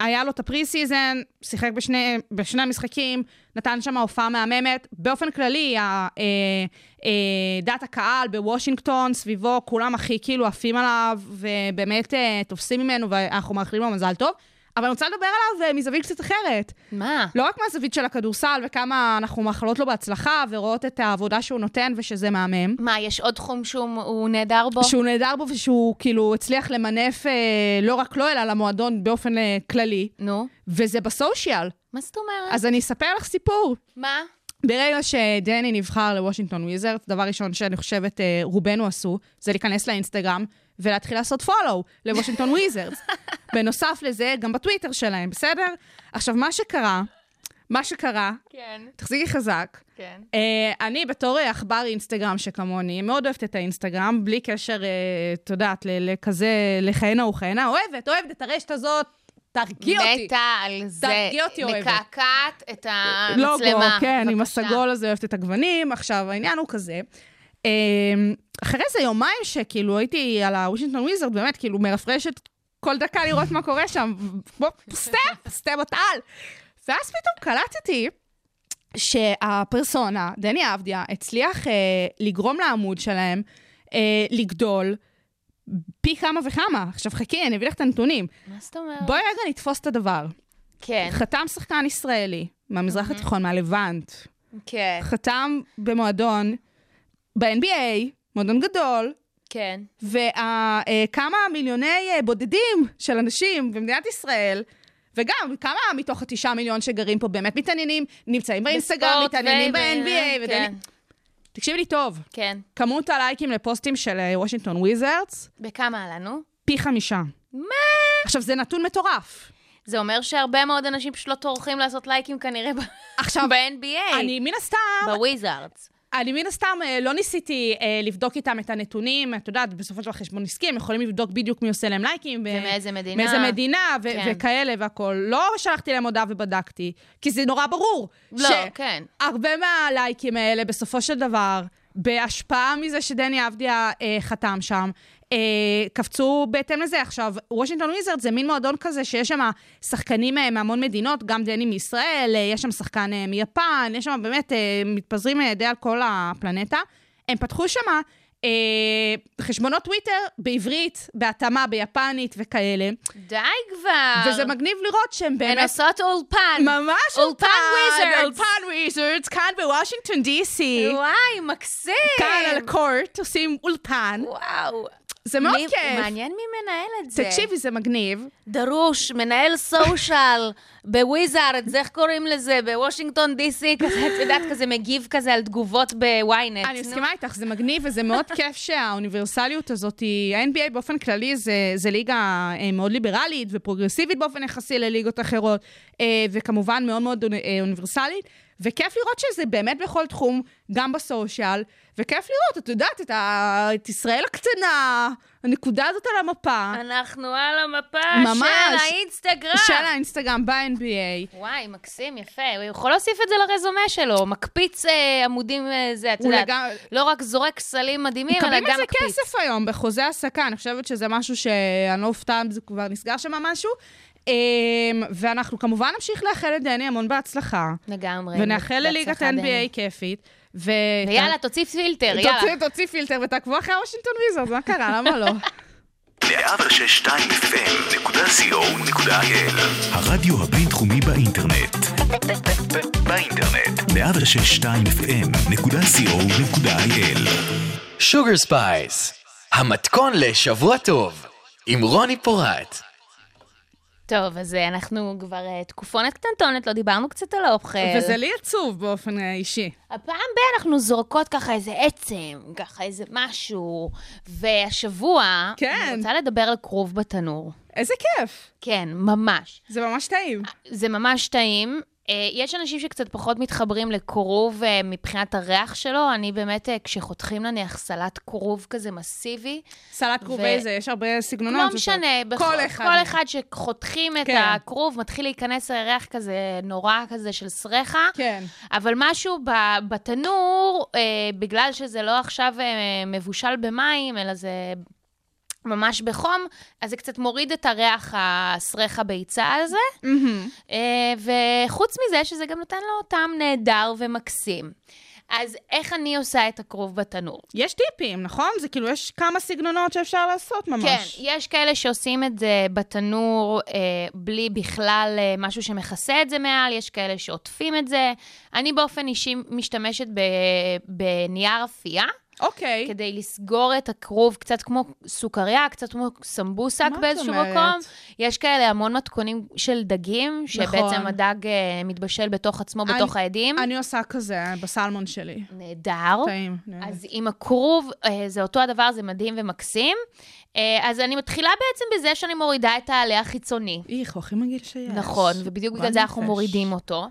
S5: היה לו את הפרי סיזן, שיחק בשני, בשני המשחקים, נתן שם הופעה מהממת. באופן כללי, ה- אה, אה, דעת הקהל בוושינגטון, סביבו, כולם הכי כאילו עפים עליו, ובאמת אה, תופסים ממנו, ואנחנו מאחלים לו מזל טוב. אבל אני רוצה לדבר עליו אה, מזווית קצת אחרת.
S4: מה?
S5: לא רק מהזווית של הכדורסל, וכמה אנחנו מאחלות לו בהצלחה, ורואות את העבודה שהוא נותן ושזה מהמם.
S4: מה, יש עוד תחום שהוא הוא נהדר בו?
S5: שהוא נהדר בו ושהוא כאילו הצליח למנף אה, לא רק לו, אלא למועדון באופן אה, כללי,
S4: נו,
S5: וזה בסושיאל.
S4: מה זאת אומרת?
S5: אז אני אספר לך סיפור.
S4: מה?
S5: ברגע שדני נבחר לוושינגטון וויזרדס, דבר ראשון שאני חושבת אה, רובנו עשו, זה להיכנס לאינסטגרם ולהתחיל לעשות פולו לוושינגטון וויזרדס. בנוסף לזה, גם בטוויטר שלהם, בסדר? עכשיו, מה שקרה, מה שקרה,
S4: כן,
S5: תחזיקי חזק,
S4: כן.
S5: Uh, אני בתור אה, עכבר אינסטגרם שכמוני, מאוד אוהבת את האינסטגרם, בלי קשר, אה, את יודעת, ל- לכזה, לכהנה וכהנה, אוהבת, אוהבת את הרשת הזאת, תרגיע אותי.
S4: מתה על זה.
S5: תרגיע אותי, אוהבת.
S4: מקעקעת את המצלמה.
S5: לוגו, כן, עם
S4: בבקשה.
S5: הסגול הזה, אוהבת את הגוונים. עכשיו, העניין הוא כזה. אה, אחרי זה יומיים שכאילו הייתי על הוושינגטון וויזרד, באמת, כאילו מרפרשת כל דקה לראות מה קורה שם, כמו סטאפ, סטאפ על. ואז פתאום קלטתי שהפרסונה, דני אבדיה, הצליח אה, לגרום לעמוד שלהם אה, לגדול פי כמה וכמה. עכשיו חכי, אני אביא לך את הנתונים.
S4: מה זאת אומרת?
S5: בואי רגע נתפוס את הדבר.
S4: אוקיי. כן,
S5: חתם שחקן ישראלי מהמזרח התיכון, מהלבנט.
S4: כן,
S5: חתם במועדון, ב-NBA, מועדון גדול,
S4: כן.
S5: וכמה מיליוני אה, בודדים של אנשים במדינת ישראל, וגם, כמה מתוך התשעה מיליון שגרים פה באמת מתעניינים, נמצאים באינסטגרם,
S4: בספורט
S5: מתעניינים
S4: ו-
S5: ב-NBA,
S4: כן,
S5: ודני- תקשיבי לי טוב,
S4: כן.
S5: כמות הלייקים לפוסטים של אה, וושינגטון וויזרדס,
S4: בכמה עלינו?
S5: פי חמישה.
S4: מה?
S5: עכשיו, זה נתון מטורף.
S4: זה אומר שהרבה מאוד אנשים פשוט לא טורחים לעשות לייקים כנראה ב-
S5: עכשיו,
S4: ב-NBA,
S5: אני מן הסתם,
S4: בוויזארדס.
S5: אני מן הסתם אה, לא ניסיתי אה, לבדוק איתם את הנתונים, את יודעת, בסופו של דבר חשבון עסקי, הם יכולים לבדוק בדיוק מי עושה להם לייקים. ו-
S4: ומאיזה מדינה.
S5: מאיזה מדינה, ו-
S4: כן.
S5: וכאלה והכול. לא שלחתי להם הודעה ובדקתי, כי זה נורא ברור.
S4: לא, כן.
S5: הרבה מהלייקים האלה, בסופו של דבר, בהשפעה מזה שדני עבדיה אה, חתם שם, אה, קפצו בהתאם לזה. עכשיו, וושינגטון וויזרד זה מין מועדון כזה שיש שם שחקנים אה, מהמון מדינות, גם דני מישראל, אה, יש שם שחקן אה, מיפן, יש שם באמת, אה, מתפזרים אה, די על כל הפלנטה. הם פתחו שם אה, חשבונות טוויטר בעברית, בהתאמה, ביפנית וכאלה,
S4: די כבר.
S5: וזה מגניב לראות שהם
S4: הן
S5: באמת...
S4: עושות אולפן.
S5: ממש
S4: אולפן
S5: אולפן
S4: וויזרדס.
S5: אולפן וויזרדס, כאן בוושינגטון די.סי.
S4: וואי, מקסים.
S5: כאן על הקורט עושים אולפן.
S4: וואו.
S5: זה מאוד
S4: מי-
S5: כיף.
S4: מעניין מי מנהל את זה.
S5: תקשיבי, זה מגניב.
S4: דרוש, מנהל סושיאל בוויזארדס, איך קוראים לזה? בוושינגטון די.סי, כזה, את יודעת, כזה מגיב כזה על תגובות בוויינט.
S5: אני
S4: נו.
S5: מסכימה איתך, זה מגניב וזה מאוד כיף שהאוניברסליות הזאת, היא- ה-NBA באופן כללי זה, זה ליגה אה, מאוד ליברלית ופרוגרסיבית באופן יחסי לליגות אחרות, אה, וכמובן מאוד מאוד אוני- אה, אוניברסלית, וכיף לראות שזה באמת בכל תחום, גם בסושיאל, וכיף לראות, את יודעת, את, ה... את ישראל הקטנה, הנקודה הזאת על המפה.
S4: אנחנו על המפה
S5: ממש.
S4: של האינסטגרם.
S5: של האינסטגרם ב-NBA.
S4: וואי, מקסים, יפה. הוא יכול להוסיף את זה לרזומה שלו, מקפיץ אה, עמודים, אה, זה, את
S5: הוא
S4: יודעת.
S5: לגמרי-
S4: לא רק זורק סלים מדהימים, אלא
S5: מקבלים על
S4: גם
S5: זה
S4: מקפיץ.
S5: כסף היום, בחוזה העסקה. אני חושבת שזה משהו שאני לא אופתעת, זה כבר נסגר שם משהו. אמ, ואנחנו כמובן נמשיך לאחל לדני המון בהצלחה.
S4: לגמרי.
S5: ונאחל לליגת
S4: בהצלחה, דני.
S5: NBA כיפית. ו-
S4: ויאללה, תוציא פילטר, יאללה.
S5: תוציא- תוציא פילטר ותעקבו אחרי וושינגטון ויזרד, מה קרה? למה לא?
S6: 106.2 FM.co.il
S1: הרדיו הבינתחומי באינטרנט.
S6: באינטרנט
S1: 106.2 FM.co.il
S3: שוגר ספייס, המתכון לשבוע טוב, עם רוני פורט.
S4: טוב, אז אה, אנחנו כבר אה, תקופונת קטנטונת, לא דיברנו קצת על האוכל.
S5: וזה לי עצוב באופן אה, אישי.
S4: הפעם ב- אנחנו זורקות ככה איזה עצם, ככה איזה משהו. והשבוע,
S5: כן.
S4: אני רוצה לדבר על כרוב בתנור.
S5: איזה כיף.
S4: כן, ממש.
S5: זה ממש טעים.
S4: זה ממש טעים. אה, יש אנשים שקצת פחות מתחברים לכרוב אה, מבחינת הריח שלו. אני באמת, אה, כשחותכים נניח סלט כרוב כזה מסיבי,
S5: סלט כרובי זה, יש הרבה סגנונות.
S4: לא
S5: וזה-
S4: משנה, בכל,
S5: כל
S4: כל
S5: אחד.
S4: אחד שחותכים את
S5: כן.
S4: הכרוב, מתחיל להיכנס ריח כזה נורא כזה של סרחה.
S5: כן.
S4: אבל משהו ב- בתנור, אה, בגלל שזה לא עכשיו אה, מבושל במים, אלא זה ממש בחום, אז זה קצת מוריד את הריח הסרח הביצה הזה. אה, וחוץ מזה, שזה גם נותן לו טעם נהדר ומקסים. אז איך אני עושה את הכרוב בתנור?
S5: יש טיפים, נכון? זה כאילו, יש כמה סגנונות שאפשר לעשות ממש.
S4: כן, יש כאלה שעושים את זה בתנור אה, בלי בכלל אה, משהו שמכסה את זה מעל, יש כאלה שעוטפים את זה. אני באופן אישי משתמשת ב, בנייר אפייה,
S5: אוקיי.
S4: כדי לסגור את הכרוב, קצת כמו סוכריה, קצת כמו סמבוסק
S5: מה את
S4: באיזשהו
S5: אומרת?
S4: מקום. יש כאלה המון מתכונים של דגים, שבעצם
S5: נכון.
S4: הדג אה, מתבשל בתוך עצמו,
S5: אני-
S4: בתוך האדים.
S5: אני עושה כזה בסלמון שלי.
S4: נהדר.
S5: טעים, אני אוהבת.
S4: אז עם הכרוב, אה, זה אותו הדבר, זה מדהים ומקסים. אה, אז אני מתחילה בעצם בזה שאני מורידה את העלה החיצוני.
S5: איך, הוא הכי מגעיל שיש.
S4: נכון, ובדיוק בגלל זה אנחנו
S5: בנפש.
S4: מורידים אותו.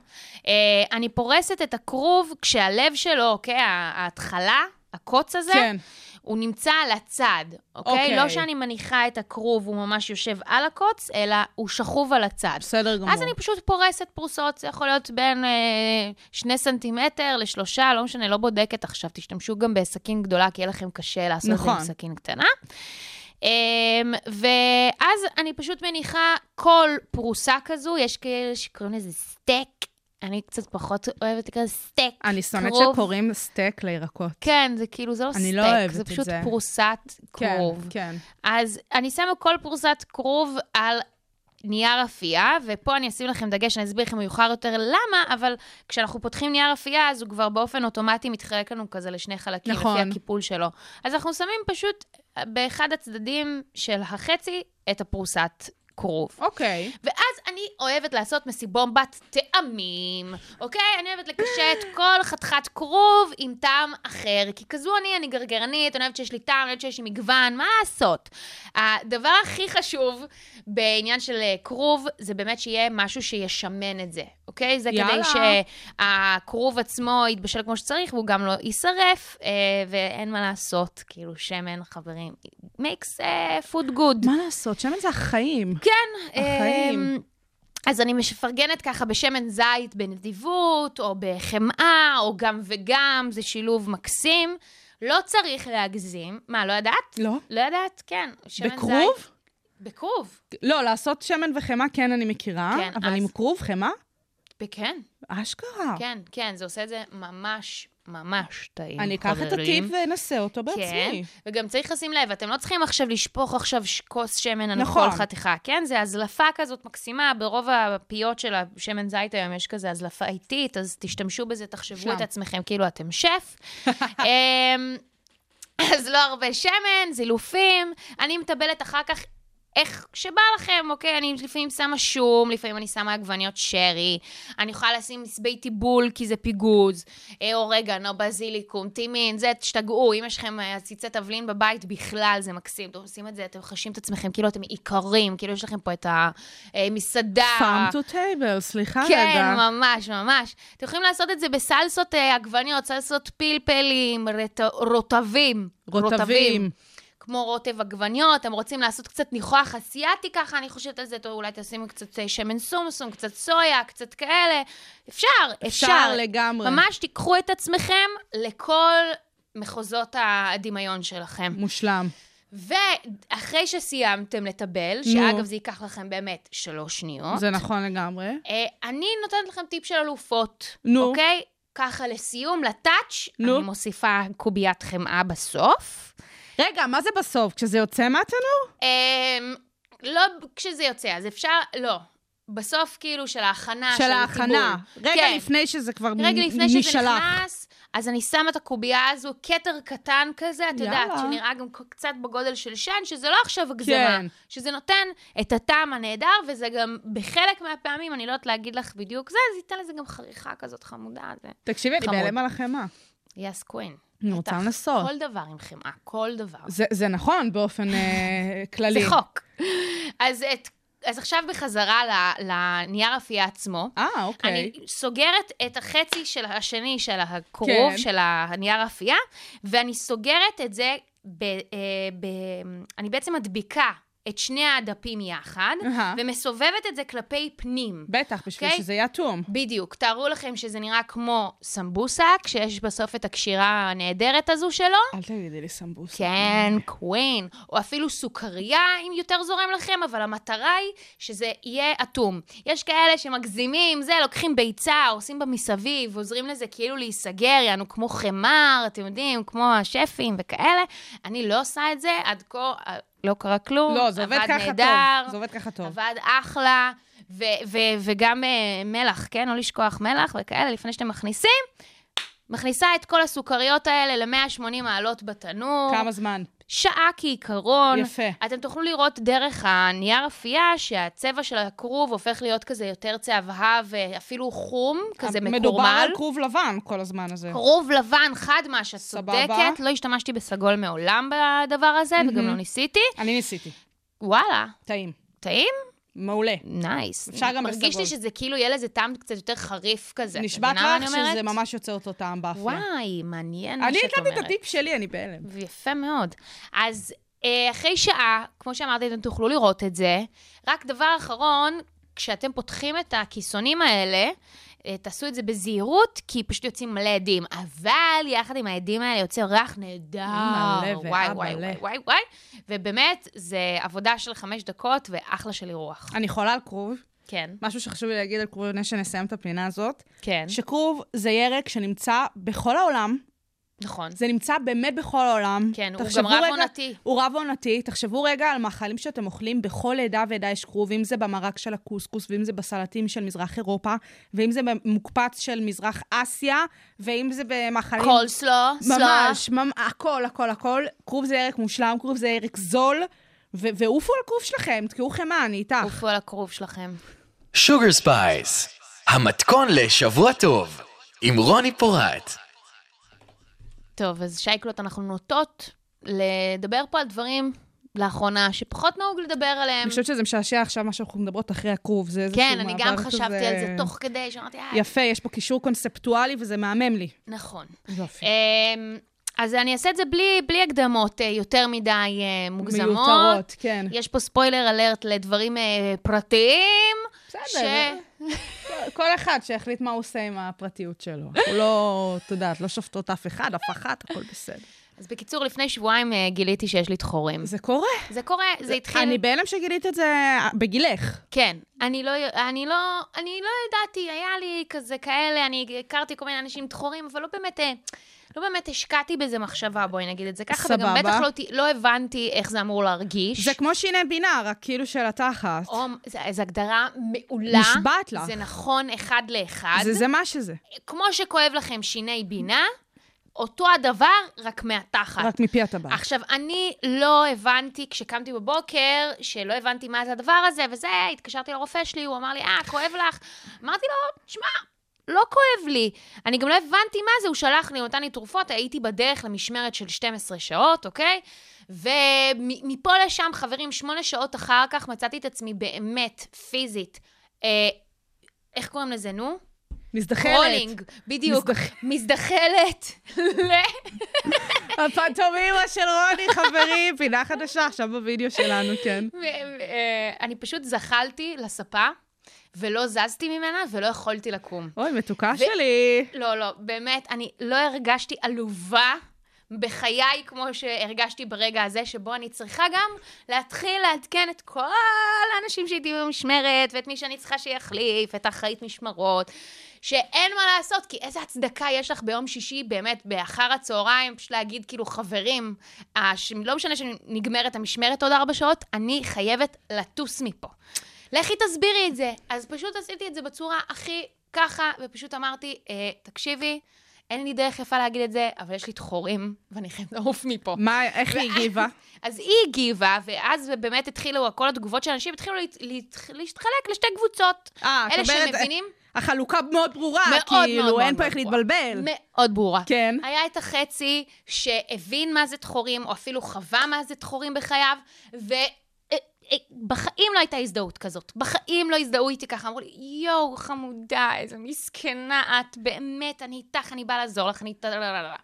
S4: אה, אני פורסת את הכרוב כשהלב שלו, אוקיי, ה- ההתחלה, הקוץ הזה,
S5: כן.
S4: הוא נמצא על הצד, אוקיי?
S5: אוקיי.
S4: לא שאני מניחה את הכרוב, הוא ממש יושב על הקוץ, אלא הוא שכוב על הצד.
S5: בסדר גמור.
S4: אז אני פשוט פורסת פרוסות, זה יכול להיות בין אה, שני סנטימטר לשלושה, לא משנה, לא בודקת עכשיו, תשתמשו גם בסכין גדולה, כי יהיה לכם קשה לעשות את זה עם
S5: נכון.
S4: סכין קטנה. אה, ואז אני פשוט מניחה כל פרוסה כזו, יש כאלה שקוראים לזה סטייק, אני קצת פחות אוהבת לקרוא לזה סטייק.
S5: אני שונאת
S4: קרוב.
S5: שקוראים סטייק לירקות.
S4: כן, זה כאילו, זה לא
S5: אני
S4: סטייק,
S5: לא אוהבת
S4: זה
S5: את
S4: פשוט
S5: זה.
S4: פרוסת כרוב.
S5: כן.
S4: אז אני שמה כל פרוסת כרוב על נייר אפייה, ופה אני אשים לכם דגש, אני אסביר לכם מאוחר יותר למה, אבל כשאנחנו פותחים נייר אפייה, אז הוא כבר באופן אוטומטי מתחלק לנו כזה לשני חלקים,
S5: נכון.
S4: לפי הקיפול שלו. אז אנחנו שמים פשוט באחד הצדדים של החצי את הפרוסת כרוב.
S5: אוקיי.
S4: ואז אני אוהבת לעשות מסיבומבת טעמים, אוקיי? אני אוהבת לקשט כל חתיכת כרוב עם טעם אחר, כי כזו אני, אני גרגרנית, אני אוהבת שיש לי טעם, אני אוהבת שיש לי מגוון, מה לעשות? הדבר הכי חשוב בעניין של אה, כרוב, זה באמת שיהיה משהו שישמן את זה, אוקיי? זה
S5: יאללה.
S4: כדי שהכרוב עצמו יתבשל כמו שצריך, והוא גם לא יישרף, אה, ואין מה לעשות, כאילו שמן, חברים, it makes uh, food good.
S5: מה לעשות? שמן זה החיים.
S4: כן.
S5: החיים.
S4: אמ, אז אני מפרגנת ככה בשמן זית בנדיבות, או בחמאה, או גם וגם, זה שילוב מקסים. לא צריך להגזים. מה, לא ידעת?
S5: לא.
S4: לא ידעת, כן. שמן זית.
S5: בכרוב?
S4: בכרוב?
S5: לא, לעשות שמן וחמאה כן אני מכירה,
S4: כן,
S5: אבל
S4: אז-
S5: עם כרוב חמאה?
S4: בכן,
S5: אשכרה.
S4: כן, כן, זה עושה את זה ממש, ממש טעים,
S5: אני אקח את
S4: חברים.
S5: הטיפ ואנסה אותו
S4: כן,
S5: בעצמי.
S4: וגם צריך לשים לב, אתם לא צריכים עכשיו לשפוך עכשיו ש- כוס שמן על
S5: נכון.
S4: כל חתיכה, כן? זה הזלפה כזאת מקסימה, ברוב הפיות של השמן זית היום יש כזה הזלפה איטית, אז תשתמשו בזה, תחשבו
S5: שם.
S4: את עצמכם כאילו אתם שף. אמ, אז לא הרבה שמן, זילופים. אני מטבלת אחר כך איך שבא לכם, אוקיי? אני לפעמים שמה שום, לפעמים אני שמה עגבניות שרי. אני יכולה לשים מסבי טיבול כי זה פיגוז. אה, אורגנו, בזיליקום, טימין, זה, תשתגעו. אם יש לכם אה, עציצי תבלין בבית, בכלל זה מקסים. אתם עושים את זה, אתם חשים את עצמכם כאילו אתם איכרים, כאילו יש לכם פה את אה, המסעדה.
S5: farm to table, סליחה רגע.
S4: אה. כן, ממש, ממש. אתם יכולים לעשות את זה בסלסות אה, עגבניות, סלסות פלפלים, רט... רוטבים.
S5: רוטבים.
S4: כמו רוטב עגבניות, אתם רוצים לעשות קצת ניחוח אסיאתי ככה, אני חושבת על זה, טוב, אולי תשימו קצת אה, שמן סומסום, קצת סויה, קצת כאלה. אפשר, אפשר.
S5: אפשר לגמרי.
S4: ממש תיקחו את עצמכם לכל מחוזות הדמיון שלכם.
S5: מושלם.
S4: ואחרי שסיימתם לטבל,
S5: נו.
S4: שאגב, זה ייקח לכם באמת שלוש שניות.
S5: זה נכון לגמרי.
S4: אה, אני נותנת לכם טיפ של אלופות.
S5: נו.
S4: אוקיי? ככה לסיום, לטאץ',
S5: נו.
S4: אני מוסיפה קוביית חמאה בסוף.
S5: רגע, מה זה בסוף? כשזה יוצא מהתנור?
S4: אמ, לא כשזה יוצא, אז אפשר, לא. בסוף כאילו של ההכנה,
S5: של
S4: הטיבול.
S5: ההכנה. רגע
S4: כן.
S5: לפני שזה כבר נ-
S4: רגע לפני שזה
S5: נשלח.
S4: נכנס, אז אני שמה את הקובייה הזו, כתר קטן כזה, את יודעת,
S5: יאללה.
S4: שנראה גם ק- קצת בגודל של שן, שזה לא עכשיו הגזמה,
S5: כן.
S4: שזה נותן את הטעם הנהדר, וזה גם בחלק מהפעמים, אני לא יודעת להגיד לך בדיוק זה, אז ייתן לזה גם חריכה כזאת חמודה. זה.
S5: תקשיבי, אני
S4: חמוד.
S5: בהלם על החמאה.
S4: יס קווין.
S5: אני רוצה
S4: בטח.
S5: לנסות.
S4: כל דבר עם חמאה, כל דבר.
S5: זה, זה נכון באופן
S4: זה
S5: אה, כללי.
S4: חוק. אז, את, אז עכשיו בחזרה ל- לנייר אפייה עצמו.
S5: אה, אוקיי.
S4: אני סוגרת את החצי של השני של הכרוב,
S5: כן.
S4: כן. של הנייר אפייה, ואני סוגרת את זה, ב, אה, ב, אני בעצם מדביקה את שני הדפים יחד,
S5: אהה.
S4: ומסובבת את זה כלפי פנים.
S5: בטח, בשביל
S4: אוקיי.
S5: שזה יהיה אטום.
S4: בדיוק. תארו לכם שזה נראה כמו סמבוסה, כשיש בסוף את הקשירה הנהדרת הזו שלו.
S5: אל תגידי לי סמבוסה.
S4: כן, קווין, או אפילו סוכריה, אם יותר זורם לכם, אבל המטרה היא שזה יהיה אטום. יש כאלה שמגזימים, זה, לוקחים ביצה, עושים בה מסביב, עוזרים לזה כאילו להיסגר, יענו כמו חמר, אתם יודעים, כמו השפים וכאלה. אני לא עושה את זה, עד כה אה, לא קרה כלום,
S5: לא, זה עובד
S4: עבד
S5: ככה
S4: נהדר,
S5: טוב. זה עובד ככה טוב.
S4: עבד אחלה, ו- ו- וגם אה, מלח, כן? לא לשכוח מלח וכאלה, לפני שאתם מכניסים. מכניסה את כל הסוכריות האלה ל-180 מעלות בתנור.
S5: כמה זמן?
S4: שעה כעיקרון.
S5: יפה.
S4: אתם תוכלו לראות דרך הנייר אפייה שהצבע של הכרוב הופך להיות כזה יותר צהבהב, אה, אפילו חום, כזה מקורמל.
S5: מדובר על כרוב לבן כל הזמן הזה.
S4: כרוב לבן חד מה שאת
S5: סבבה.
S4: צודקת. לא השתמשתי בסגול מעולם בדבר הזה, וגם לא ניסיתי.
S5: אני ניסיתי.
S4: וואלה,
S5: טעים.
S4: טעים?
S5: מעולה.
S4: נייס.
S5: אפשר גם
S4: מרגיש
S5: בסגול.
S4: לי שזה כאילו יהיה לזה טעם קצת יותר חריף כזה. את
S5: נשבעת
S4: מבינה מה אני
S5: לך
S4: אומרת?
S5: שזה ממש יוצא אותו טעם באפייה.
S4: וואי, מעניין מה
S5: אני
S4: שאת
S5: הקלטתי
S4: אומרת.
S5: את הטיפ שלי, אני בהלם.
S4: ויפה מאוד. אז אה, אחרי שעה, כמו שאמרתי, אתם תוכלו לראות את זה. רק דבר אחרון, כשאתם פותחים את הכיסונים האלה, אה, תעשו את זה בזהירות, כי פשוט יוצאים מלא עדים. אבל יחד עם העדים האלה יוצא ריח נהדר.
S5: אימא'לה
S4: וואי,
S5: ואבא'לה.
S4: וואי, וואי, וואי, וואי. ובאמת, זה עבודה של חמש דקות ואחלה של אירוח.
S5: אני חולה על כרוב.
S4: כן,
S5: משהו שחשוב לי להגיד על כרוב לפני שנסיים את הפינה הזאת,
S4: כן,
S5: שכרוב זה ירק שנמצא בכל העולם,
S4: נכון.
S5: זה נמצא באמת בכל העולם.
S4: כן, הוא
S5: תחשבו
S4: גם רב
S5: רגע-
S4: עונתי.
S5: הוא רב עונתי. תחשבו רגע על מאכלים שאתם אוכלים, בכל עדה ועדה יש כרוב, אם זה במרק של הקוסקוס, ואם זה בסלטים של מזרח אירופה, ואם זה במוקפץ של מזרח אסיה, ואם זה במאכלים...
S4: קולסלו, סלו.
S5: ממש, ממש, הכל, הכל, הכל. כרוב זה ירק מושלם, כרוב זה ירק זול. ו- ועופו על קוף שלכם, תקעו חמאה, אני איתך.
S4: עופו על הכרוב שלכם.
S3: שוגר ספייס, המתכון לשבוע טוב, עם רוני פורט.
S4: טוב, אז שייקלוט, אנחנו נוטות לדבר פה על דברים לאחרונה שפחות נהוג לדבר עליהם.
S5: אני חושבת שזה משעשע עכשיו מה שאנחנו מדברות אחרי הכרוב, זה איזשהו
S4: כן,
S5: מעבר
S4: אני גם
S5: כזה-
S4: חשבתי על זה תוך כדי, שאמרתי, אה,
S5: יפה, יש פה קישור קונספטואלי וזה מהמם לי.
S4: נכון.
S5: יופי.
S4: אמ, אז אני אעשה את זה בלי, בלי הקדמות אה, יותר מדי אה, מוגזמות.
S5: מיותרות, כן.
S4: יש פה ספוילר אלרט לדברים אה, פרטיים.
S5: בסדר.
S4: ש...
S5: כל אחד שיחליט מה הוא עושה עם הפרטיות שלו. אנחנו לא, את יודעת, לא שופטות אף אחד, אף אחת, הכל בסדר.
S4: אז בקיצור, לפני שבועיים אה, גיליתי שיש לי דחורים. זה,
S5: זה קורה.
S4: זה קורה, זה התחיל...
S5: אני בהלם שגילית את זה אה, בגילך.
S4: כן, אני לא, אני, לא, אני לא ידעתי, היה לי כזה כאלה, אני הכרתי כל מיני אנשים דחורים, אבל לא באמת, אה, לא באמת השקעתי בזה מחשבה, בואי נגיד את זה ככה, וגם
S5: סבבה.
S4: בטח לא, ת- לא הבנתי איך זה אמור להרגיש.
S5: זה כמו שיני בינה, רק כאילו של התחת.
S4: או, זה- זו הגדרה מעולה.
S5: נשבעת לך.
S4: זה נכון אחד לאחד.
S5: זה זה מה שזה,
S4: כמו שכואב לכם שיני בינה, אותו הדבר, רק מהתחת.
S5: רק מפי הטבעת.
S4: עכשיו, אני לא הבנתי, כשקמתי בבוקר, שלא הבנתי מה זה הדבר הזה, וזה, התקשרתי לרופא שלי, הוא אמר לי, אה, כואב לך? אמרתי לו, תשמע, לא כואב לי. אני גם לא הבנתי מה זה, הוא שלח לי, הוא נתן לי תרופות, הייתי בדרך למשמרת של 12 שעות, אוקיי? ומפה לשם, חברים, שמונה שעות אחר כך מצאתי את עצמי באמת, פיזית, אה, איך קוראים לזה, נו?
S5: מזדחלת.
S4: קרולינג, בדיוק,
S5: מזדח-
S4: מזדחלת ל...
S5: הפנטומימה של רוני, חברי, פינה חדשה עכשיו בווידאו שלנו, כן.
S4: ו- ו- אה, אני פשוט זחלתי לספה, ולא זזתי ממנה, ולא יכולתי לקום.
S5: אוי, מתוקה שלי.
S4: לא, לא, באמת, אני לא הרגשתי עלובה בחיי כמו שהרגשתי ברגע הזה, שבו אני צריכה גם להתחיל לעדכן את כל האנשים שאיתי במשמרת, ואת מי שאני צריכה שיחליף, את האחראית משמרות, שאין מה לעשות, כי איזה הצדקה יש לך ביום שישי, באמת, באחר הצהריים, פשוט להגיד, כאילו, חברים, הש... לא משנה שנגמרת המשמרת עוד ארבע שעות, אני חייבת לטוס מפה. לכי תסבירי את זה. אז פשוט עשיתי את זה בצורה הכי ככה, ופשוט אמרתי, אה, תקשיבי, אין לי דרך יפה להגיד את זה, אבל יש לי דחורים, ואני חייבת לעוף מפה.
S5: מה, איך היא הגיבה?
S4: אז היא הגיבה, ואז באמת התחילו, כל התגובות של אנשים התחילו להת- להת- להשתחלק לשתי קבוצות.
S5: אה,
S4: אלה
S5: את אומרת,
S4: שמבינים,
S5: החלוקה מאוד ברורה,
S4: מאוד מאוד
S5: כאילו,
S4: מאוד
S5: אין פה איך
S4: מאוד אה,
S5: להתבלבל.
S4: מאוד ברורה.
S5: כן.
S4: היה את החצי שהבין מה זה דחורים, או אפילו חווה מה זה דחורים בחייו, ו... אה, אה, בחיים לא הייתה הזדהות כזאת. בחיים לא הזדהו איתי ככה. אמרו לי, יואו, חמודה, איזה מסכנה את, באמת, אני איתך, אני באה לעזור לך, אני... לא, טה-טה-טה-טה-טה."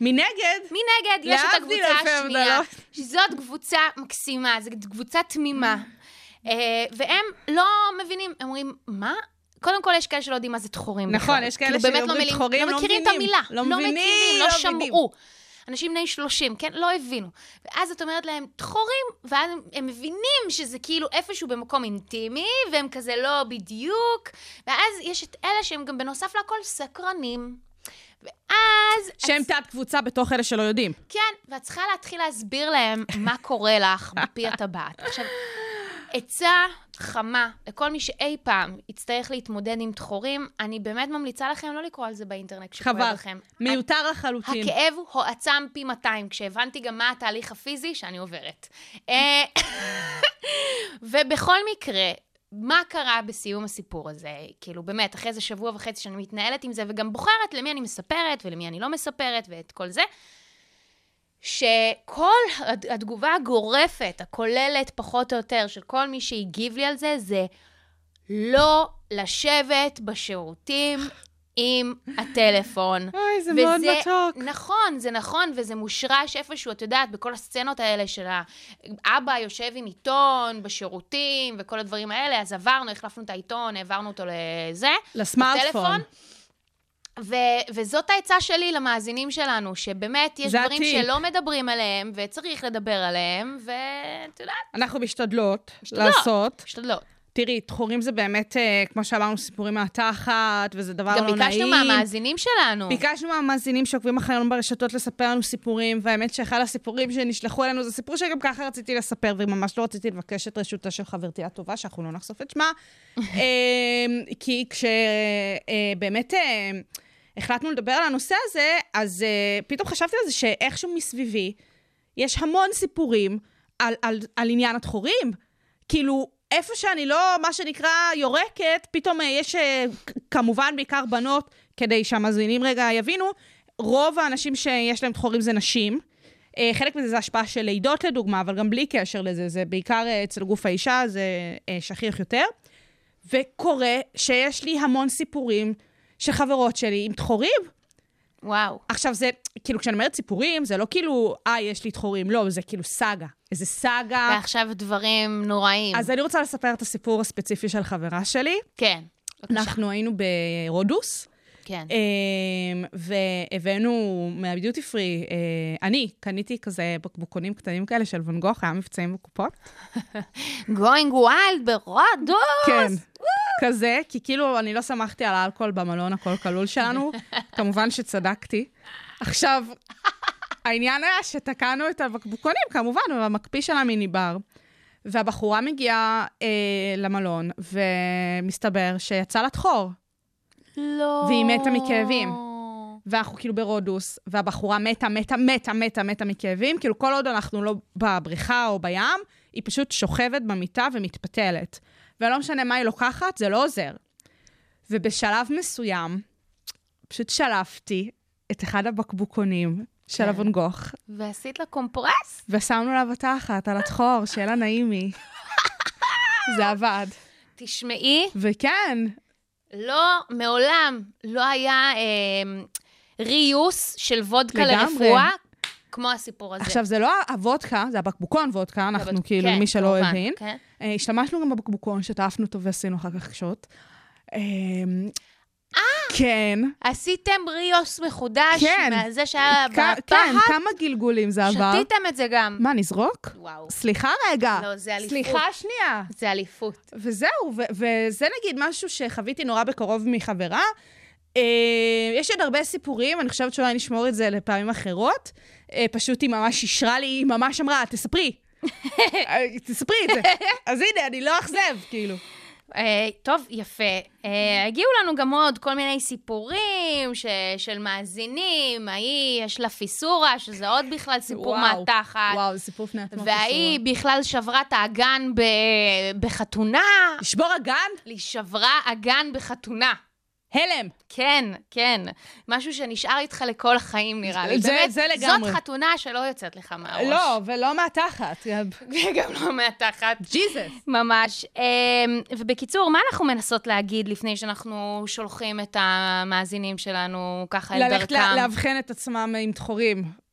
S4: ומנגד,
S5: מנגד,
S4: אה, יש את
S5: להבדיל
S4: הקבוצה
S5: אלפי
S4: השנייה,
S5: הבדלות.
S4: שזאת קבוצה מקסימה, זאת קבוצה תמימה.
S5: Mm.
S4: אה, והם לא מבינים, הם אומרים, מה? קודם כל, יש כאלה שלא יודעים מה זה דחורים בכלל.
S5: נכון, יש כאלה
S4: כאילו, באמת
S5: שאומרים
S4: מבינים-
S5: דחורים,
S4: לא
S5: לא
S4: מכירים את
S5: מבינים.
S4: המילה.
S5: לא מבינים,
S4: מכירים, לא
S5: לא
S4: שמעו. אנשים בני 30, כן? לא הבינו. ואז את אומרת להם, דחורים, ואז הם, הם מבינים שזה כאילו איפשהו במקום אינטימי, והם כזה לא בדיוק, ואז יש את אלה שהם גם בנוסף לכל סקרנים. ואז... את
S5: שהם תת-קבוצה בתוך אלה שלא יודעים.
S4: כן, ואת צריכה להתחיל להסביר להם מה קורה לך בפי הטבעת. עכשיו, עצה חמה לכל מי שאי פעם יצטרך להתמודד עם דחורים, אני באמת ממליצה לכם לא לקרוא על זה באינטרנט כשכואב
S5: חבל.
S4: לכם. אה,
S5: מיותר לחלוטין.
S4: הכאב הועצם פי 200, כשהבנתי גם מה התהליך הפיזי שאני עוברת. אה, ובכל מקרה, מה קרה בסיום הסיפור הזה? כאילו, באמת, אחרי איזה שבוע וחצי שאני מתנהלת עם זה, וגם בוחרת למי אני מספרת ולמי אני לא מספרת ואת כל זה, שכל הד- התגובה הגורפת, הכוללת פחות או יותר, של כל מי שהגיב לי על זה, זה לא לשבת בשירותים עם הטלפון.
S5: אוי, זה מאוד
S4: וזה-
S5: מתוק.
S4: נכון, זה נכון, וזה מושרש איפשהו, את יודעת, בכל הסצנות האלה של האבא יושב עם עיתון בשירותים וכל הדברים האלה, אז עברנו, החלפנו את העיתון, העברנו אותו לזה.
S5: לסמארטפון.
S4: לטלפון. ו- וזאת העצה שלי למאזינים שלנו, שבאמת יש
S5: זה
S4: דברים
S5: הטיפ.
S4: שלא מדברים עליהם, וצריך לדבר עליהם, ואת יודעת,
S5: אנחנו משתדלות
S4: משתדלות.
S5: לעשות.
S4: משתדלות.
S5: תראי, דחורים זה באמת, אה, כמו שאמרנו, סיפורים מהתחת, וזה דבר לא
S4: גם
S5: נעים.
S4: ביקשנו מהמאזינים שלנו.
S5: ביקשנו מהמאזינים שעוקבים אחרינו ברשתות לספר לנו סיפורים, והאמת שאחד הסיפורים שנשלחו אלינו זה סיפור שגם ככה רציתי לספר, וממש לא רציתי לבקש את רשותה של חברתי הטובה, שאנחנו לא נחשוף את שמה. אה, כי כשבאמת אה, החלטנו לדבר על הנושא הזה, אז אה, פתאום חשבתי על זה שאיכשהו מסביבי יש המון סיפורים על, על, על עניין התחורים. כאילו, איפה שאני לא, מה שנקרא, יורקת, פתאום אה, יש, אה, כ- כמובן, בעיקר בנות, כדי שהמאזינים רגע יבינו, רוב האנשים שיש להם תחורים זה נשים. אה, חלק מזה זה השפעה של לידות, לדוגמה, אבל גם בלי קשר לזה, זה בעיקר אה, אצל גוף האישה, זה אה, שכיח יותר. וקורה שיש לי המון סיפורים של חברות שלי עם תחורים.
S4: וואו.
S5: עכשיו זה, כאילו, כשאני אומרת סיפורים, זה לא כאילו, אה, יש לי תחורים, לא, זה כאילו סאגה. איזה סאגה.
S4: ועכשיו דברים נוראים.
S5: אז אני רוצה לספר את הסיפור הספציפי של חברה שלי.
S4: כן. בבקשה.
S5: אנחנו היינו ברודוס,
S4: כן.
S5: אמ, והבאנו מהביוטי פרי, אה, אני קניתי כזה בקבוקונים קטנים כאלה של ואן גוך, היה מבצעים בקופות.
S4: going wild ברודוס.
S5: כן. כזה, כי כאילו אני לא שמחתי על האלכוהול במלון הכל כלול שלנו, כמובן שצדקתי. עכשיו, העניין היה שתקענו את הבקבוקונים, כמובן, במקפיא של המיני בר. והבחורה מגיעה אה, למלון, ומסתבר שיצא לה חור.
S4: לא.
S5: והיא מתה מכאבים. ואנחנו כאילו ברודוס, והבחורה מתה, מתה, מתה, מתה, מתה מכאבים. כאילו, כל עוד אנחנו לא בבריכה או בים, היא פשוט שוכבת במיטה ומתפתלת. ולא משנה מה היא לוקחת, זה לא עוזר. ובשלב מסוים, פשוט שלפתי את אחד הבקבוקונים
S4: כן.
S5: של אבון גוך,
S4: ועשית לה קומפרס?
S5: ושמנו לה בתחת, על התחור, שיהיה לה נעימי. זה עבד.
S4: תשמעי,
S5: וכן,
S4: לא, מעולם לא היה אה, ריוס של וודקה
S5: לגמרי.
S4: לרפואה כמו הסיפור הזה.
S5: עכשיו, זה לא הוודקה, זה הבקבוקון וודקה, אנחנו
S4: בבק-
S5: כאילו,
S4: כן,
S5: מי שלא
S4: כמובן,
S5: הבין.
S4: כן.
S5: אה, השתמשנו גם בבקבוקון, שטעפנו אותו ועשינו אחר כך קשות. אה, כן.
S4: עשיתם ריוס מחודש,
S5: כן.
S4: מהזה שהיה
S5: כ- כן,
S4: בפחד,
S5: כמה גלגולים זה עבר.
S4: שתיתם את זה גם.
S5: מה, נזרוק?
S4: וואו.
S5: סליחה רגע.
S4: לא, זה אליפות.
S5: סליחה שנייה.
S4: זה אליפות.
S5: וזהו, ו- וזה נגיד משהו שחוויתי נורא בקרוב מחברה. אה, יש עוד הרבה סיפורים, אני חושבת שאולי נשמור את זה לפעמים אחרות. אה, פשוט היא ממש אישרה לי, היא ממש אמרה, תספרי. אה, תספרי את זה. אז הנה, אני לא אאכזב, כאילו.
S4: אה, טוב, יפה. אה, הגיעו לנו גם עוד כל מיני סיפורים ש- של מאזינים, ההיא יש לה פיסורה, שזה עוד בכלל סיפור
S5: וואו,
S4: מהתחת.
S5: וואו, זה לא סיפור בפני עצמו.
S4: וההיא בכלל שברה את האגן ב- בחתונה.
S5: לשבור אגן?
S4: היא שברה אגן בחתונה.
S5: הלם.
S4: כן, כן. משהו שנשאר איתך לכל החיים, נראה לי.
S5: זה-
S4: באמת,
S5: זה לגמרי.
S4: זאת חתונה שלא יוצאת לך מהראש.
S5: לא, ולא מהתחת.
S4: גם לא מהתחת.
S5: ג'יזוס.
S4: ממש. אמ, ובקיצור, מה אנחנו מנסות להגיד לפני שאנחנו שולחים את המאזינים שלנו ככה אל דרכם?
S5: ללכת לה- לאבחן את עצמם עם דחורים.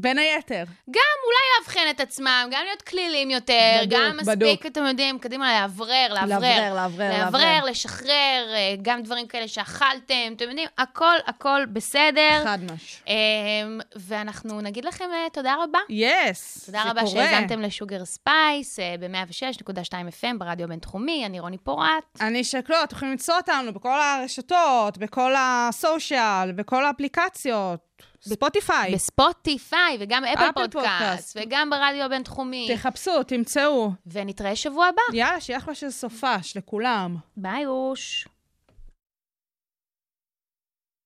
S5: בין היתר.
S4: גם אולי לאבחן את עצמם, גם להיות כלילים יותר,
S5: בדוק,
S4: גם מספיק,
S5: בדוק.
S4: אתם יודעים, קדימה, לאוורר, לאוורר.
S5: לאוורר, לאוורר,
S4: לאוורר,
S5: לאוורר.
S4: לשחרר, אה, גם דברים כאלה שאכלתם, אתם יודעים, הכל, הכל בסדר.
S5: חד משהו.
S4: אמ, ואנחנו נגיד לכם אה, תודה רבה.
S5: יס.
S4: תודה רבה שהאזנתם לשוגר ספייס אה, ב-106.2 FM ברדיו הבינתחומי, אני רוני פורט.
S5: אני שקלות, יכולים למצוא אותנו בכל הרשתות, בכל הסושיאל, בכל האפליקציות, ספוטיפיי.
S4: בספוטיפיי, וגם אפל
S5: אפל
S4: פודקאסט,
S5: פודקאסט.
S4: וגם ברדיו הבינתחומי.
S5: תחפשו, תמצאו.
S4: ונתראה שבוע הבא.
S5: יאללה, שיהיה אחלה של סופש לכולם.
S4: ביי אוש.